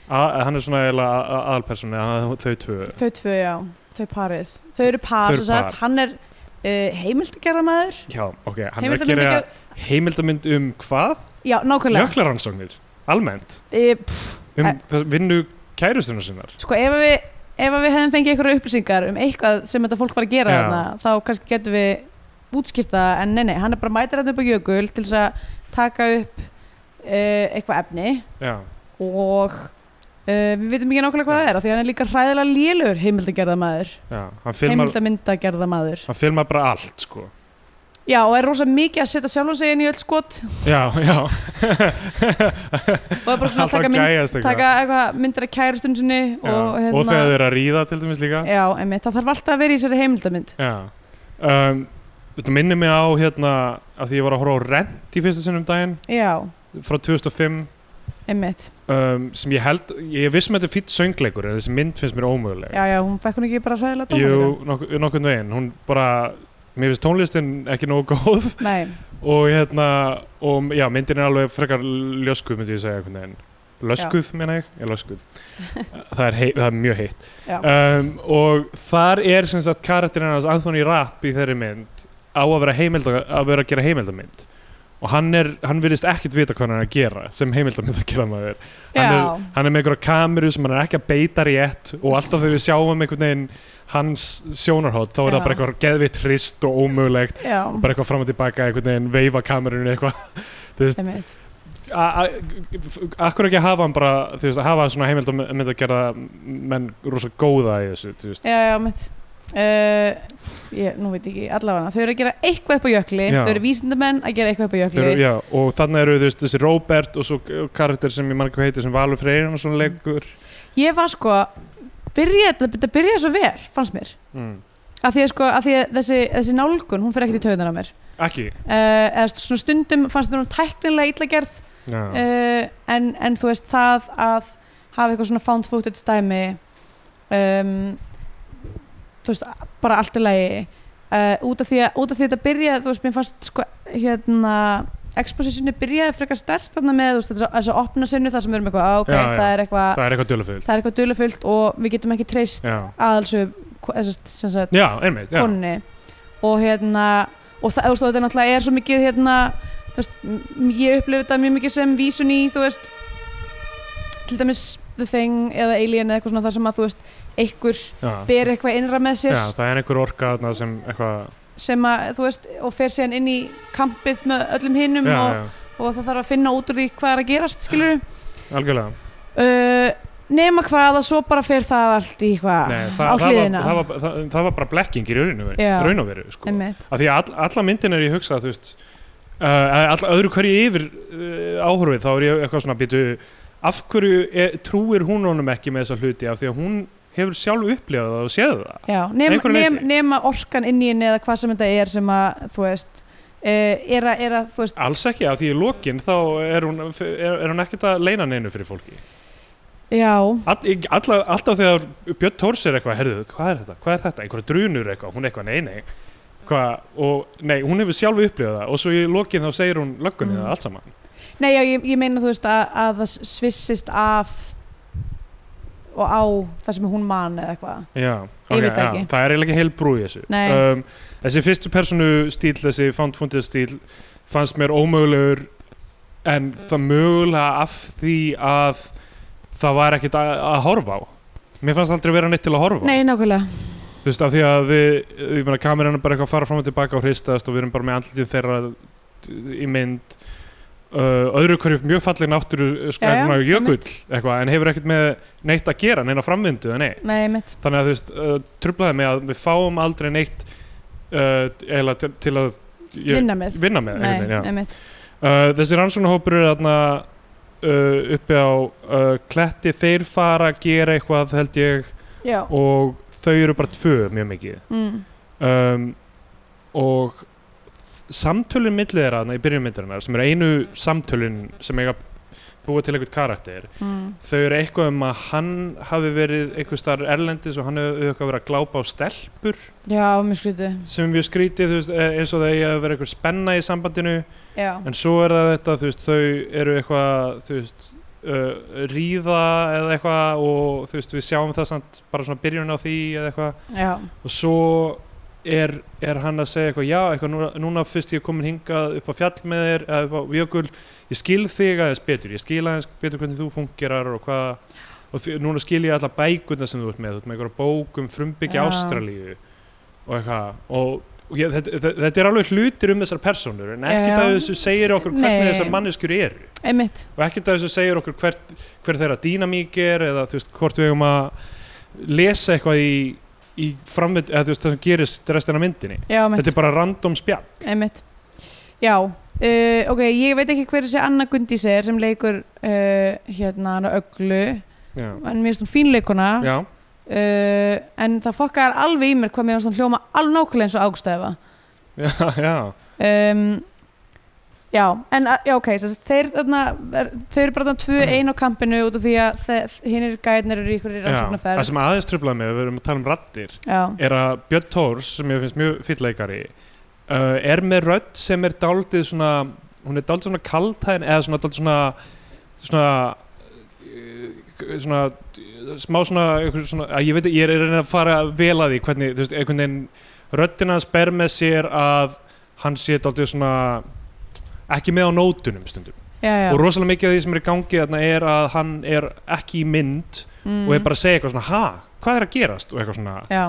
S3: a- hann er svona eiginlega aðalpersonu þau tvö
S2: þau tvö já, þau parið þau eru par,
S3: Þau
S2: þau
S3: eru
S2: sagt,
S3: par.
S2: hann er uh, heimildagerðamaður
S3: Já, ok, hann er að gera
S2: heimildamyndagerð,
S3: heimildamynd um hvað?
S2: já, nákvæmlega
S3: Jöklaransóknir, almennt
S2: uh, pff,
S3: um
S2: Eh.
S3: það vinnu kærustunar sinnar
S2: sko ef að við ef að við hefðum fengið einhverja upplýsingar um eitthvað sem þetta fólk var að gera
S3: Já.
S2: þarna þá kannski getum við útskýrta en nei, nei, hann er bara mætir hann upp á jökul til þess að taka upp uh, eitthvað efni
S3: Já,
S2: og uh, við veitum ekki nákvæmlega hvað það er af því að hann er líka hræðilega lélur heimildagerðamaður
S3: já, hann filmar,
S2: heimildamyndagerðamaður
S3: hann filmar bara allt sko
S2: já og er rosa mikið að setja sjálf og segja inn í öll skot
S3: Já, já
S2: og er bara svona að
S3: Alltaf
S2: taka, mynd,
S3: gæjast eitthvað.
S2: taka eitthvað myndir að kærustun sinni
S3: Já,
S2: og, hérna-
S3: og þegar þau eru að ríða til dæmis líka
S2: já, einmitt, það þarf alltaf að vera í sér heimildamynd
S3: Já um, Þetta minnir mig á hérna að því ég var að horfa á Rent í fyrsta sinnum daginn
S2: já,
S3: frá 2005
S2: einmitt
S3: um, sem ég held, ég vissum að þetta er fýtt söngleikur en þessi mynd finnst mér ómöguleg
S2: já, já, hún fekk hún ekki bara hræðilega dóma
S3: Jú,
S2: líka?
S3: nok nokkurn veginn, hún bara mér finnst tónlistin ekki nógu góð
S2: nei,
S3: og hérna, og já, myndin er alveg frekar ljöskuð, myndi ég segja einhvern veginn löskuð, meina ég, ég löskuð það, er hei, það er mjög heitt
S2: já,
S3: um, og þar er sem sagt karakterinn hans Anthony Rapp í þeirri mynd á að vera, heimilda, að vera að gera heimildamynd og hann, er, hann virðist ekkert vita hvað hann er að gera sem heimildamynd að gera maður hann
S2: já,
S3: er, hann er með einhverja kameru sem hann er ekki að beita rétt og alltaf þegar við sjáum einhvern veginn hans sjónarhótt þá er
S2: Já.
S3: það bara eitthvað geðvitt hrist og ómögulegt
S2: já
S3: bara eitthvað fram og tilbaka, einhvern veginn veifa kamerunni eitthvað, þú veist
S2: einmitt,
S3: A- a- akkur ekki hafa hann bara þú veist, hafa svona heimildamynd að gera menn rosa góða í þessu þú veist.
S2: já, já, einmitt Uh, ég, nú veit ég ekki, allavega þau eru að gera eitthvað upp á jökli
S3: Já.
S2: þau eru vísindamenn að gera eitthvað upp á jökli
S3: Þeir, eru- já, og þannig eru þú veist, þessi Robert og svo karakter sem ég mann ekki hvað heitir sem Valur Freyrin og svona leikur
S2: ég var sko byrja, þetta byrjaði svo vel, fannst mér
S3: mm.
S2: af því að, sko, af því að þessi, þessi nálgun hún fer ekkert í taugunar á mér
S3: ekki
S2: uh, eða svona stundum fannst mér hún tæknilega illa gerð
S3: já,
S2: uh, en, en þú veist það að hafa eitthvað svona found footage dæmi um, þú veist bara allt í lagi uh, út, af því að, út af því að þetta byrjaði þú veist mér fannst sko hérna expositioni byrjaði frekar stert þarna með þú veist þess að, þess að opna sinni þar sem við erum eitthvað "Ah, ok,
S3: Já, já.
S2: það er eitthvað
S3: það er eitthvað döluföld
S2: það er eitthvað dulefullt og við getum ekki treyst
S3: já,
S2: aðalsög sem sagt
S3: já einmitt já.
S2: konni og hérna og það þú veist, og þetta náttúrulega er svo mikið hérna þú veist, m- ég upplifi þetta mjög mikið sem vísun í þú veist til dæmis The Thing eða Alien eða eitthvað svona þar sem að þú veist einhver
S3: Já.
S2: ber eitthvað innra með sér
S3: já, það er einhver orka þarna sem eitthvað
S2: sem að þú veist og fer síðan inn í kampið með öllum hinnum
S3: já,
S2: og,
S3: já,
S2: og það þarf að finna út úr því hvað er að gerast skilur
S3: algjörlega
S2: uh, nema hvað að svo bara fer það allt í hvað
S3: Nei,
S2: Ah, á
S3: það, það, var,
S2: hliðina
S3: það, var, það, það var bara blekking í raun og veru-
S2: Já.
S3: raun og veru sko.
S2: Einmitt.
S3: að því að all, alla myndin er ég hugsað þú veist uh, all, öðru hverju yfir uh, áhorfið þá er ég eitthvað svona býtu af hverju er, trúir hún honum ekki með þessa hluti af því að hún hefur sjálf upplifað það og séð það
S2: Já, nema,
S3: einhverju
S2: nema,
S3: leyti.
S2: nema orkan inn í henni eða hvað sem þetta er sem að, þú veist, uh, er að, er að, þú veist,
S3: alls ekki af því í lokin þá er hún, er, er hún ekkert að leina neinu fyrir fólki
S2: já,
S3: all, í- alla, alltaf þegar Björn Tórs er eitthvað herðu, hvað er þetta, hvað er þetta, einhverja drunur eitthvað hún er eitthvað, nei, nei Hvað, og nei, hún hefur sjálf upplifað það og svo í lokin þá segir hún löggunni
S2: Mm.
S3: það allt saman
S2: nei, já, ég, ég meina, þú veist, að, að það svissist af og á það sem hún man eða eitthvað.
S3: Já,
S2: Ég
S3: ok,
S2: veit það
S3: já,
S2: ekki.
S3: það er eiginlega ekki heil brú í þessu
S2: Nei.
S3: um, Þessi fyrstu personu stíl, þessi foundfundið stíl fannst mér ómögulegur en það mögulega af því að það var ekkert að, að horfa á Mér fannst aldrei vera neitt til að horfa á.
S2: Nei, nákvæmlega,
S3: Þú veist, af því að við, ég meina, kameran er bara eitthvað að fara fram og tilbaka og hristast og við erum bara með andlitið þeirra í mynd uh, öðru hverju mjög falleg náttúru sko,
S2: Já, já,
S3: ja, jökull eitthvað, en hefur ekkert með neitt að gera, neina framvindu eða neitt
S2: nei, mitt,
S3: þannig að þú veist, uh, trublaði mig að við fáum aldrei neitt uh, eiginlega til, til að ég,
S2: vinna með.
S3: vinna með
S2: Nei,
S3: einhvern veginn, já.
S2: einmitt.
S3: uh, þessi rannsóknahópur er þarna uh, uppi á uh, kletti, þeir fara að gera eitthvað held ég
S2: Já,
S3: og þau eru bara tvö mjög mikið
S2: mm,
S3: um, og samtölin millið þeirra þarna í byrjunmyndarinnar sem eru einu samtölin sem eiga að búa til einhvern karakter
S2: mm,
S3: þau eru eitthvað um að hann hafi verið einhver starf erlendis og hann hefur eitthvað verið að glápa á stelpur
S2: já, mjög skrítið,
S3: sem er mjög skrítið þú veist, eh, eins og það eigi að vera einhver spenna í sambandinu
S2: já,
S3: en svo er það þetta þú veist, þau eru eitthvað þú veist, uh, ríða eða eitthvað og þú veist, við sjáum það samt bara svona byrjun á því eða eitthvað
S2: já,
S3: og svo er, er hann að segja eitthvað já, eitthvað núna, núna fyrst ég er komin hingað upp á fjall með þér eða upp á jökul, ég skil þig aðeins betur ég skil aðeins betur hvernig þú fungerar og hvað, og því, núna skil ég alla bækurna sem þú ert með, þú ert með einhverja bók um frumbyggja
S2: Já.
S3: Ástralíu og eitthvað, og, og ég, þetta, þetta- þetta er alveg hlutir um þessar persónur en
S2: Já.
S3: ekkert af þessu segir okkur hvernig
S2: Nei.
S3: þessar manneskjur eru
S2: einmitt
S3: og ekkert af þessu segir okkur hver, hver þeirra dýnamík er eða þú veist hvort við eigum að lesa eitthvað í, í framvind eða þú veist það sem gerist restina af myndinni
S2: já,
S3: þetta
S2: einmitt,
S3: er bara random spjall
S2: einmitt. já uh, ok, ég veit ekki hver þessi Anna Gundís er sem leikur uh, hérna hana öglu
S3: já,
S2: en mér finnst hún fínleikuna
S3: já.
S2: uh, en það fokkar alveg í mér hvað mér finnst hún hljóma alveg nákvæmlega eins og ágstæfa
S3: já, já.
S2: um, já, en a- já, ok þess, þeir, þarna, er- þau eru bara þarna tvö ein á kampinu út af því að hinnir gæðnir eru ykkur í
S3: Mhm. já. það
S2: rannsóknarferð
S3: sem aðeins tröflaði mig, við erum að tala um rattir
S2: já,
S3: er að Björn Tórs sem ég finnst mjög fyllleikari uh, er með rödd sem er daldið svona hún er daldið svona kaltæðin eða svona daldið svona svona eh, svona smá svona, einhver svona að ég veit ekki, ég er að reyna að fara vel að því hvernig, þú veist, einhvern veginn röddina hans ber með sér að hann sé daldið svona ekki með á nótunum stundum
S2: já, já
S3: og rosalega mikið af því sem er í gangi þarna er að hann er ekki í mynd
S2: mm,
S3: og er bara að segja eitthvað svona, ha, hvað er að gerast og eitthvað svona,
S2: já,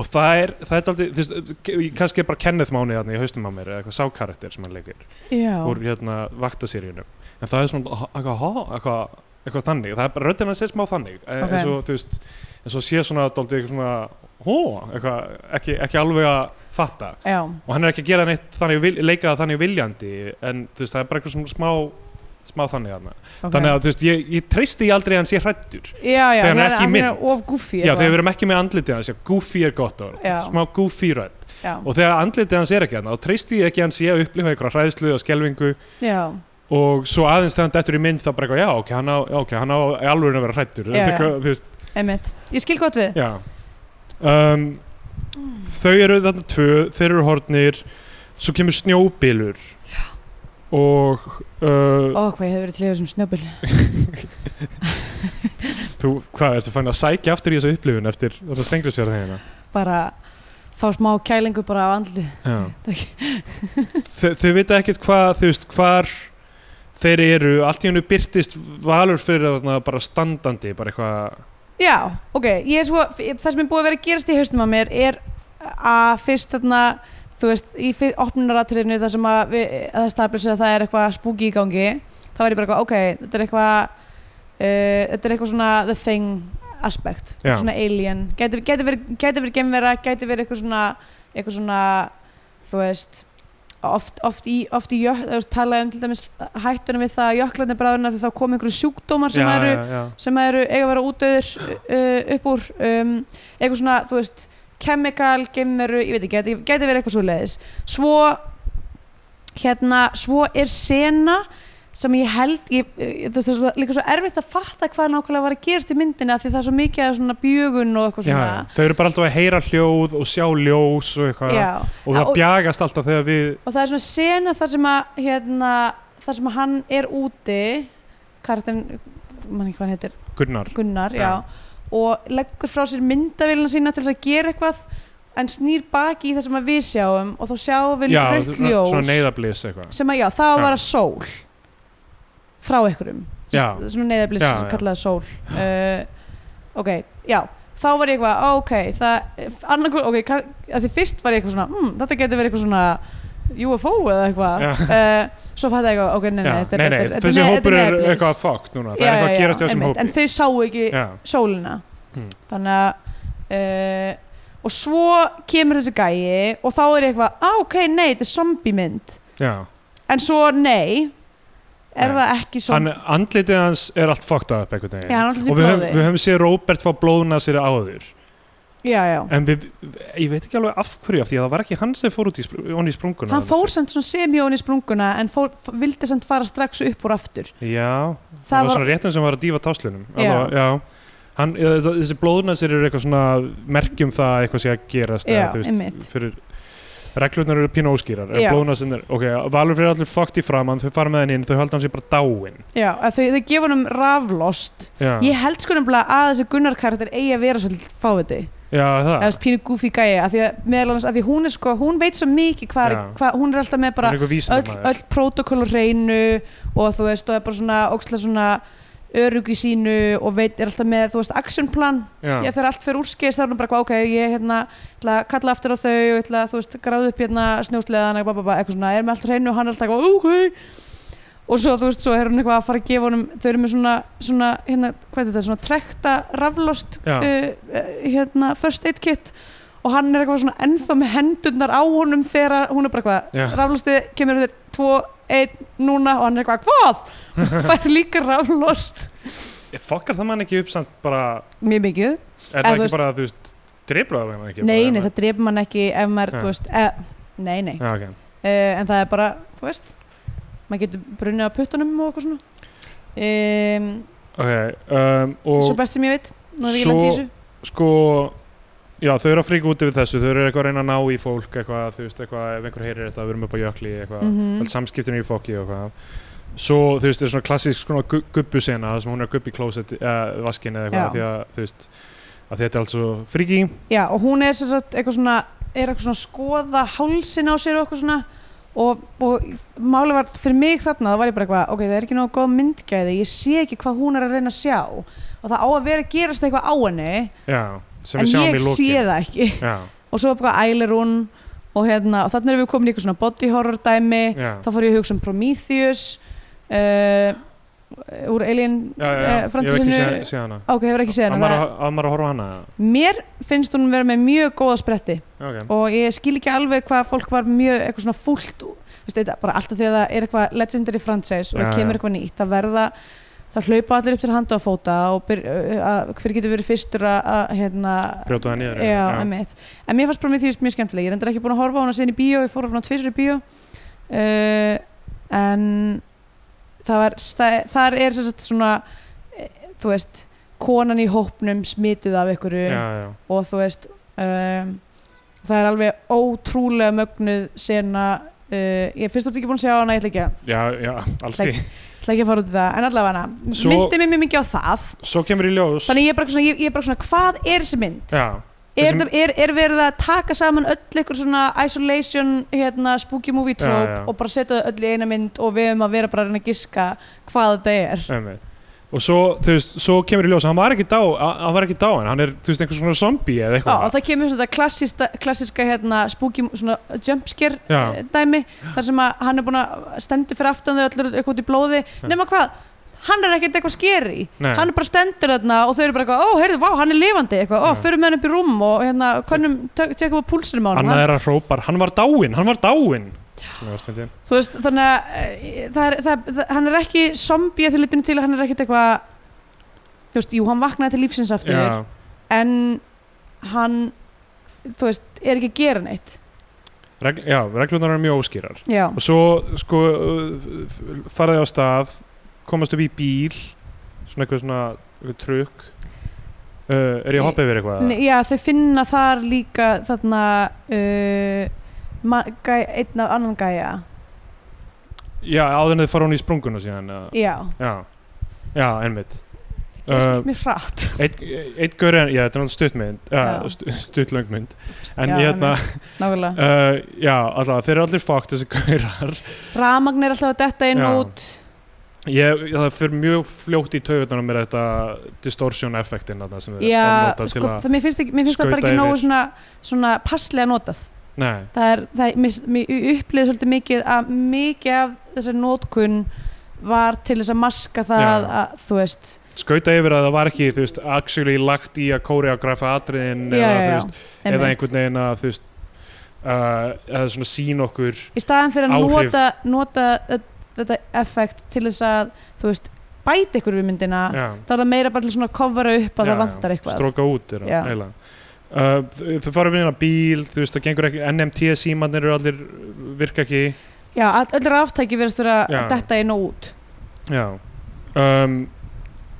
S3: og það er, það er aldrei, þú veist, ég- kannski er bara Kenneth Máni þarna í haustum á mér eða eitthvað sákarakter sem hann leikir
S2: já,
S3: úr hérna vaktasýrjunum en það er svona, ha- eitthvað, ha, eitthvað, eitthvað þannig, það er bara, röddina sé smá þannig okay.
S2: Ok.
S3: eins og, þú veist, eins og sé svona aldrei eitthvað svona, hó, eitthvað ekki, ekki alveg að fatta
S2: já,
S3: og hann er ekki að gera neitt þannig, vil- leika það þannig viljandi, en þú veist, það er bara eitthvað svona smá, smá þannig þarna
S2: ok
S3: þannig að, þú veist, ég, ég treysti ég aldrei að hann sé hrættur
S2: já, já,
S3: þegar hann er
S2: þegar
S3: ekki í
S2: hann
S3: mynd.
S2: of goofy
S3: Já,
S2: eitthvað.
S3: þegar við erum ekki með andlitið hans, já, goofy er gott orð,
S2: Já.
S3: smá goofy rödd
S2: já,
S3: og þegar andlitið hans er ekki hann þá treysti ég ekki að hann sé að upplifa einhverja hræðslu og skelvingu
S2: já,
S3: og svo aðeins þegar hann dettur í mynd þá bara eitthvað já ok, hann á, já, okay, hann á í alveg að vera hrættur
S2: Já, já.
S3: Þú veist,
S2: einmitt ég skil gott við
S3: já. Um, þau eru þarna tvö þeir eru hornir svo kemur snjóbylur og uh,
S2: ó, hvað ég hef verið til í þessum snöbul
S3: þú, hvað, ertu fann að sækja aftur í þessu upplifun eftir þetta stenglisverð þeirna
S2: bara fá smá kælingu bara á andlið
S3: Þe, þau vita ekkert hvað þú veist hvar þeir eru allt í hennu byrtist valur fyrir þarna bara standandi bara eitthvað
S2: Já, ok, ég er svo, það sem er búið að vera að gerast í haustum að mér er að fyrst þarna, þú veist, í opnunaratriðinu þar sem að, við, að það stabilisir að það er eitthvað spooky í gangi, þá var ég bara eitthvað, ok, þetta er eitthvað, uh, þetta er eitthvað svona the thing aspect,
S3: Já.
S2: svona alien, gæti, gæti verið, gæti verið gemvera, gæti verið eitthvað svona, eitthvað svona, þú veist, oft, oft í, oft í jökk, þú veist, talaði um til dæmis hættunum við það að jöklarnir bráðurna þegar þá kom einhverju sjúkdómar sem eru,
S3: já, já.
S2: sem eru eiga að vera útdöður uh, upp úr um, eitthvað svona, þú veist, chemical, gemveru, ég veit ekki, geti, geti verið eitthvað svo leiðis svo hérna, svo er sena sem ég held ég, ég, þú veist, það er svo- líka svo erfitt að fatta hvað nákvæmlega var að gerast í myndinni af því það er svo mikið af svona bjögun og eitthvað
S3: Já,
S2: svona
S3: já. þau eru bara alltaf að heyra hljóð og sjá ljós og eitthvað
S2: Já.
S3: og það
S2: Og-
S3: bjagast alltaf þegar við
S2: og það er svona sena þar sem að hérna, þar sem að hann er úti kartin, mann ekki hvað hann heitir
S3: Gunnar
S2: Gunnar, já.
S3: Já.
S2: og leggur frá sér myndavélina sína til þess að gera eitthvað en snýr baki í það sem að við sjáum og þá sjáum við
S3: já,
S2: rautt
S3: svona, svona
S2: ljós
S3: neyðablís eitthvað
S2: sem að já, það á að
S3: Já.
S2: vera sól frá einhverjum Sest,
S3: Já.
S2: svona neyðablis
S3: Já,
S2: sem
S3: já.
S2: kallaði sól uh, ok, já þá var ég eitthvað, ó, ok það, annarkur, ok, kann- að því fyrst var ég eitthvað svona mm, þetta getur verið eitthvað svona UFO eða eitthvað
S3: Já.
S2: uh, svo fætti ég eitthvað, ok, nei, nei,
S3: Já,
S2: þetta er-
S3: nei, nei,
S2: þetta er- þetta er
S3: þessi
S2: ne- þetta
S3: hópur er
S2: neyðarblis.
S3: eitthvað fokkt núna það
S2: Já,
S3: er
S2: já,
S3: eitthvað að gerast
S2: já,
S3: hjá þessum
S2: einmitt,
S3: hópi
S2: en þau sáu ekki
S3: já,
S2: sólina
S3: Hmm.
S2: þannig að uh, og svo kemur þessi gæi og þá er ég eitthvað, á ok, nei, þetta er zombie mynd
S3: já.
S2: en svo nei er
S3: Nei.
S2: það ekki
S3: Hann,
S2: zombie
S3: andlitið hans er allt fokkt upp einhvern
S2: Já, hann er
S3: veginn
S2: alltaf í
S3: og við höfum,
S2: blóði.
S3: við höfum séð Robert fá blóðna sér áður
S2: já, já.
S3: En við, ég veit ekki alveg af hverju af því að það var ekki hann sem fór út í, spr ofan í sprunguna
S2: hann fór samt svona semjón í sprunguna en fór, f- vildi samt fara strax upp úr aftur
S3: Já, það,
S2: það
S3: var
S2: var,
S3: svona réttin sem var að dífa táslunum
S2: Já.
S3: Allavega, já. Hann, eða þ- Þessi blóðnasir eru eitthvað svona merkjum það að eitthvað sé að gerast
S2: Já,
S3: eða, þú
S2: einmitt.
S3: fyrir, Reglurnar eru pínu óskýrar
S2: Já.
S3: Blóðnasir, ok, Valur fyrir allir fokkt í framann þau fara með henni inn, þau halda hann sér bara dáin
S2: já, að þau, þau gefa hann um raflost
S3: Já,
S2: ég held sko nefnilega að þessi Gunnar karakter eigi að vera svolítið fáviti
S3: já, já, það
S2: eða þess pínu goofy gæi af því að meðal annars, af því hún er sko, hún veit svo mikið hvað,
S3: Já.
S2: hvað hún er alltaf með bara
S3: Hún er einhver
S2: öll,
S3: vísindamaður.
S2: öll protokól á hreinu og þú veist, og er bara svona óksla svona örug í sínu og veit, er alltaf með, þú veist, actionplan
S3: Já.
S2: ég þegar allt fyrir úrskis þá er hún bara eitthvað, ok, ég hérna ætla að kalla aftur á þau og ætla, að, þú veist, gráðu upp hérna snjósleðan eitthvað, eitthvað, eitthvað svona, er með allt á hreinu og hann er alltaf eitthvað, ok og svo, þú veist, svo er hún eitthvað að fara að gefa honum þau eru með svona, svona, hérna, hvað er þetta svona trekta raflost
S3: Já.
S2: uh, uh, hérna, first aid kit og hann er eitthvað svona ennþá með hendurnar á honum þegar hún er bara
S3: Já.
S2: eitthvað raflostið kemur þetta 2, 1, núna og hann er eitthvað, hvað? fær líka raflost
S3: fokkar það mann ekki upp samt bara
S2: mjög mikið
S3: er
S2: þú
S3: það ekki
S2: veist-
S3: bara, þú veist, driplaðu það mann ekki
S2: Nei, nei,
S3: bara,
S2: það drefur mann ekki ef maður,
S3: Já.
S2: þú veist, e, nei, nei
S3: já, okay.
S2: e, en það er bara, þú veist maður getur brunnið á puttunum og eitthvað svona e,
S3: Okay, um, og
S2: svo best sem ég veit nú hef ég
S3: svo-
S2: landið í þessu
S3: sko já, þau eru að fríka út yfir þessu, þau eru eitthvað að reyna að ná í fólk eitthvað, þú veist, eitthvað, ef einhver heyrir þetta við erum upp á jökli, eitthvað, mm
S2: Mhm.
S3: samskiptin er í fokki og eitthvað svo, þú veist, það er svona klassísk svona gu gubbusena, það sem hún er að gubbi í klósett, uh, vaskin eða
S2: Já.
S3: eitthvað, af því að þú veist, að þetta er allt svo fríki
S2: Já, og hún er sem sagt eitthvað svona er eitthvað svona að skoða hálsin á sér og eitthvað svona og, og máli var fyrir mig þarna þá var ég bara eitthvað, ok, það er ekki nóg góð myndgæði ég sé ekki hvað hún er að reyna að sjá og það á að vera að gerast eitthvað á henni
S3: já, sem við
S2: en
S3: sjáum
S2: ég
S3: í
S2: sé
S3: lokin
S2: það ekki
S3: já,
S2: og svo bara ælir hún og, hérna, og þannig erum við komin í eitthvað svona body horror dæmi
S3: já,
S2: þá fór ég að hugsa um Prometheus uh, úr Alien
S3: já, já,
S2: eh,
S3: ég hef ekki
S2: fransísinu
S3: séð sé hana
S2: ok, hefur ekki séð
S3: að
S2: hana
S3: maður
S2: það-
S3: að- á maður að horfa á hana
S2: mér finnst hún vera með mjög góða spretti
S3: okay.
S2: og ég skil ekki alveg hvað fólk var mjög eitthvað svona fúlt þú veist, þetta, bara alltaf þegar það er eitthvað legendary franchise og
S3: Já,
S2: kemur
S3: já.
S2: eitthvað nýtt það verða það hlaupa allir upp til handa og fóta og byr, að, hver getur verið fyrstur að, að hérna,
S3: brjóta það niður
S2: já, einmitt. en mér fannst Prometheus mjög skemmtileg ég er endur ekki búin að horfa á hana síðan í bíó ég fór á hana tvisur í bíó uh, en það var, það, þar er sem sagt svona eh, þú veist, konan í hópnum smituð af ykkur
S3: já, já,
S2: og þú veist um, það er alveg ótrúlega mögnuð sena uh, ég fyrst þú ert ekki búin að sjá hana, ég ætla ekki að
S3: já, já, alls
S2: Like-
S3: ekki
S2: ætla ekki að fara út í það, en allavega
S3: Svo-
S2: hana myndi mér mikið á það,
S3: svo kemur í ljós
S2: þannig ég er bara svona, ég, ég er bara svona hvað er þessi mynd?
S3: já,
S2: er,
S3: Þessum-
S2: sem... er, er verið að taka saman öll ykkur svona isolation hérna, spooky movie
S3: Já,
S2: trope
S3: já.
S2: og bara setja þau öll í eina mynd og við höfum að vera bara að reyna að giska hvað þetta er
S3: Einmitt. Og svo, þú veist, svo kemur í ljós að hann var ekki dá, að- hann var ekki dáin, hann er, þú veist, einhvers konar zombie
S2: Já,
S3: eða
S2: og
S3: eitthvað.
S2: það kemur svona þetta klassista, klassiska hérna, spooky svona jumpscare
S3: Já.
S2: eh, dæmi þar sem að hann er búin að stendur fyrir aftan þau öllur eitthvað út í blóði nema hvað, hann er ekkert eitthvað skeri
S3: Nei.
S2: hann er bara stendur þarna og þau eru bara eitthvað ó, heyrðu, vá, hann er lifandi eitthvað, ó,
S3: Já.
S2: förum með hann upp í rúm og hérna, konum, tekum við púlsinum á hann
S3: Annað er að hrópar, hann var dáin, hann var dáin. Sem ég varst fyndin.
S2: þú veist, þannig að eh, það er, það, það, hann er ekki zombie að því litinu til að hann er ekkert eitthvað þú veist, jú, hann vaknaði til lífsins aftur
S3: Já,
S2: en hann þú veist, er ekki að gera neitt
S3: regl, já reglunar eru mjög óskýrar.
S2: já,
S3: Og svo, sko, uh, f- f- fara þau á stað, komast upp í bíl, svona eitthvað svona, eitthvað trukk. Uh, er ég að hoppa yfir eitthvað?
S2: Nei, já þau finna þar líka þarna uh, ma- gæ, einn af annan gæja
S3: Já, áður en þau fara hún í sprunguna síðan. eða-
S2: já,
S3: Já, já, einmitt.
S2: það gerist
S3: Uh,
S2: allt mjög hratt
S3: Eitt, eitt gaur er, já, þetta er náttúrulega stuttmynd,
S2: Já.
S3: uh, stu, stuttlöngmynd, en
S2: Já,
S3: já, hérna,
S2: nákvæmlega,
S3: Uh, já, alltaf, þeir eru allir fokkt þessi gaurar
S2: ramagn er alltaf að detta inn
S3: Já.
S2: og út
S3: ég, Það fyrir mjög fljótt í taugutunum með þetta distortion effektin þarna sem þeir
S2: já,
S3: ofnota
S2: sko,
S3: til að
S2: það, mér finnst, ekki, mér finnst það
S3: skauta
S2: bara ekki nógu
S3: yfir.
S2: svona, svona passlega notað
S3: Nei,
S2: það er, það er, mér, mér upplýði svolítið mikið að mikið af þessari nótkun var til þess að maska það
S3: Já.
S2: að, þú veist,
S3: skauta yfir að það var ekki, þú veist, actually lagt í að koreografa atriðin
S2: já,
S3: eða,
S2: já,
S3: þú
S2: já,
S3: veist, eða
S2: einmitt.
S3: einhvern veginn að, þú veist uh, eða svona sín okkur
S2: í staðan fyrir að
S3: áhrif.
S2: nota, nota ö- þetta effekt til þess að, þú veist, bæta ykkur við myndina,
S3: Já,
S2: þá er það meira bara til svona að covera upp að
S3: já,
S2: það vantar eitthvað
S3: Stróka út,
S2: Já.
S3: er það Uh, þau þau fara við inn á bíl, þú veist, það gengur ekki NMT símannir eru allir virka ekki
S2: já, all- öll ráftæki verðast vera
S3: Já.
S2: að detta inn og út
S3: Já um,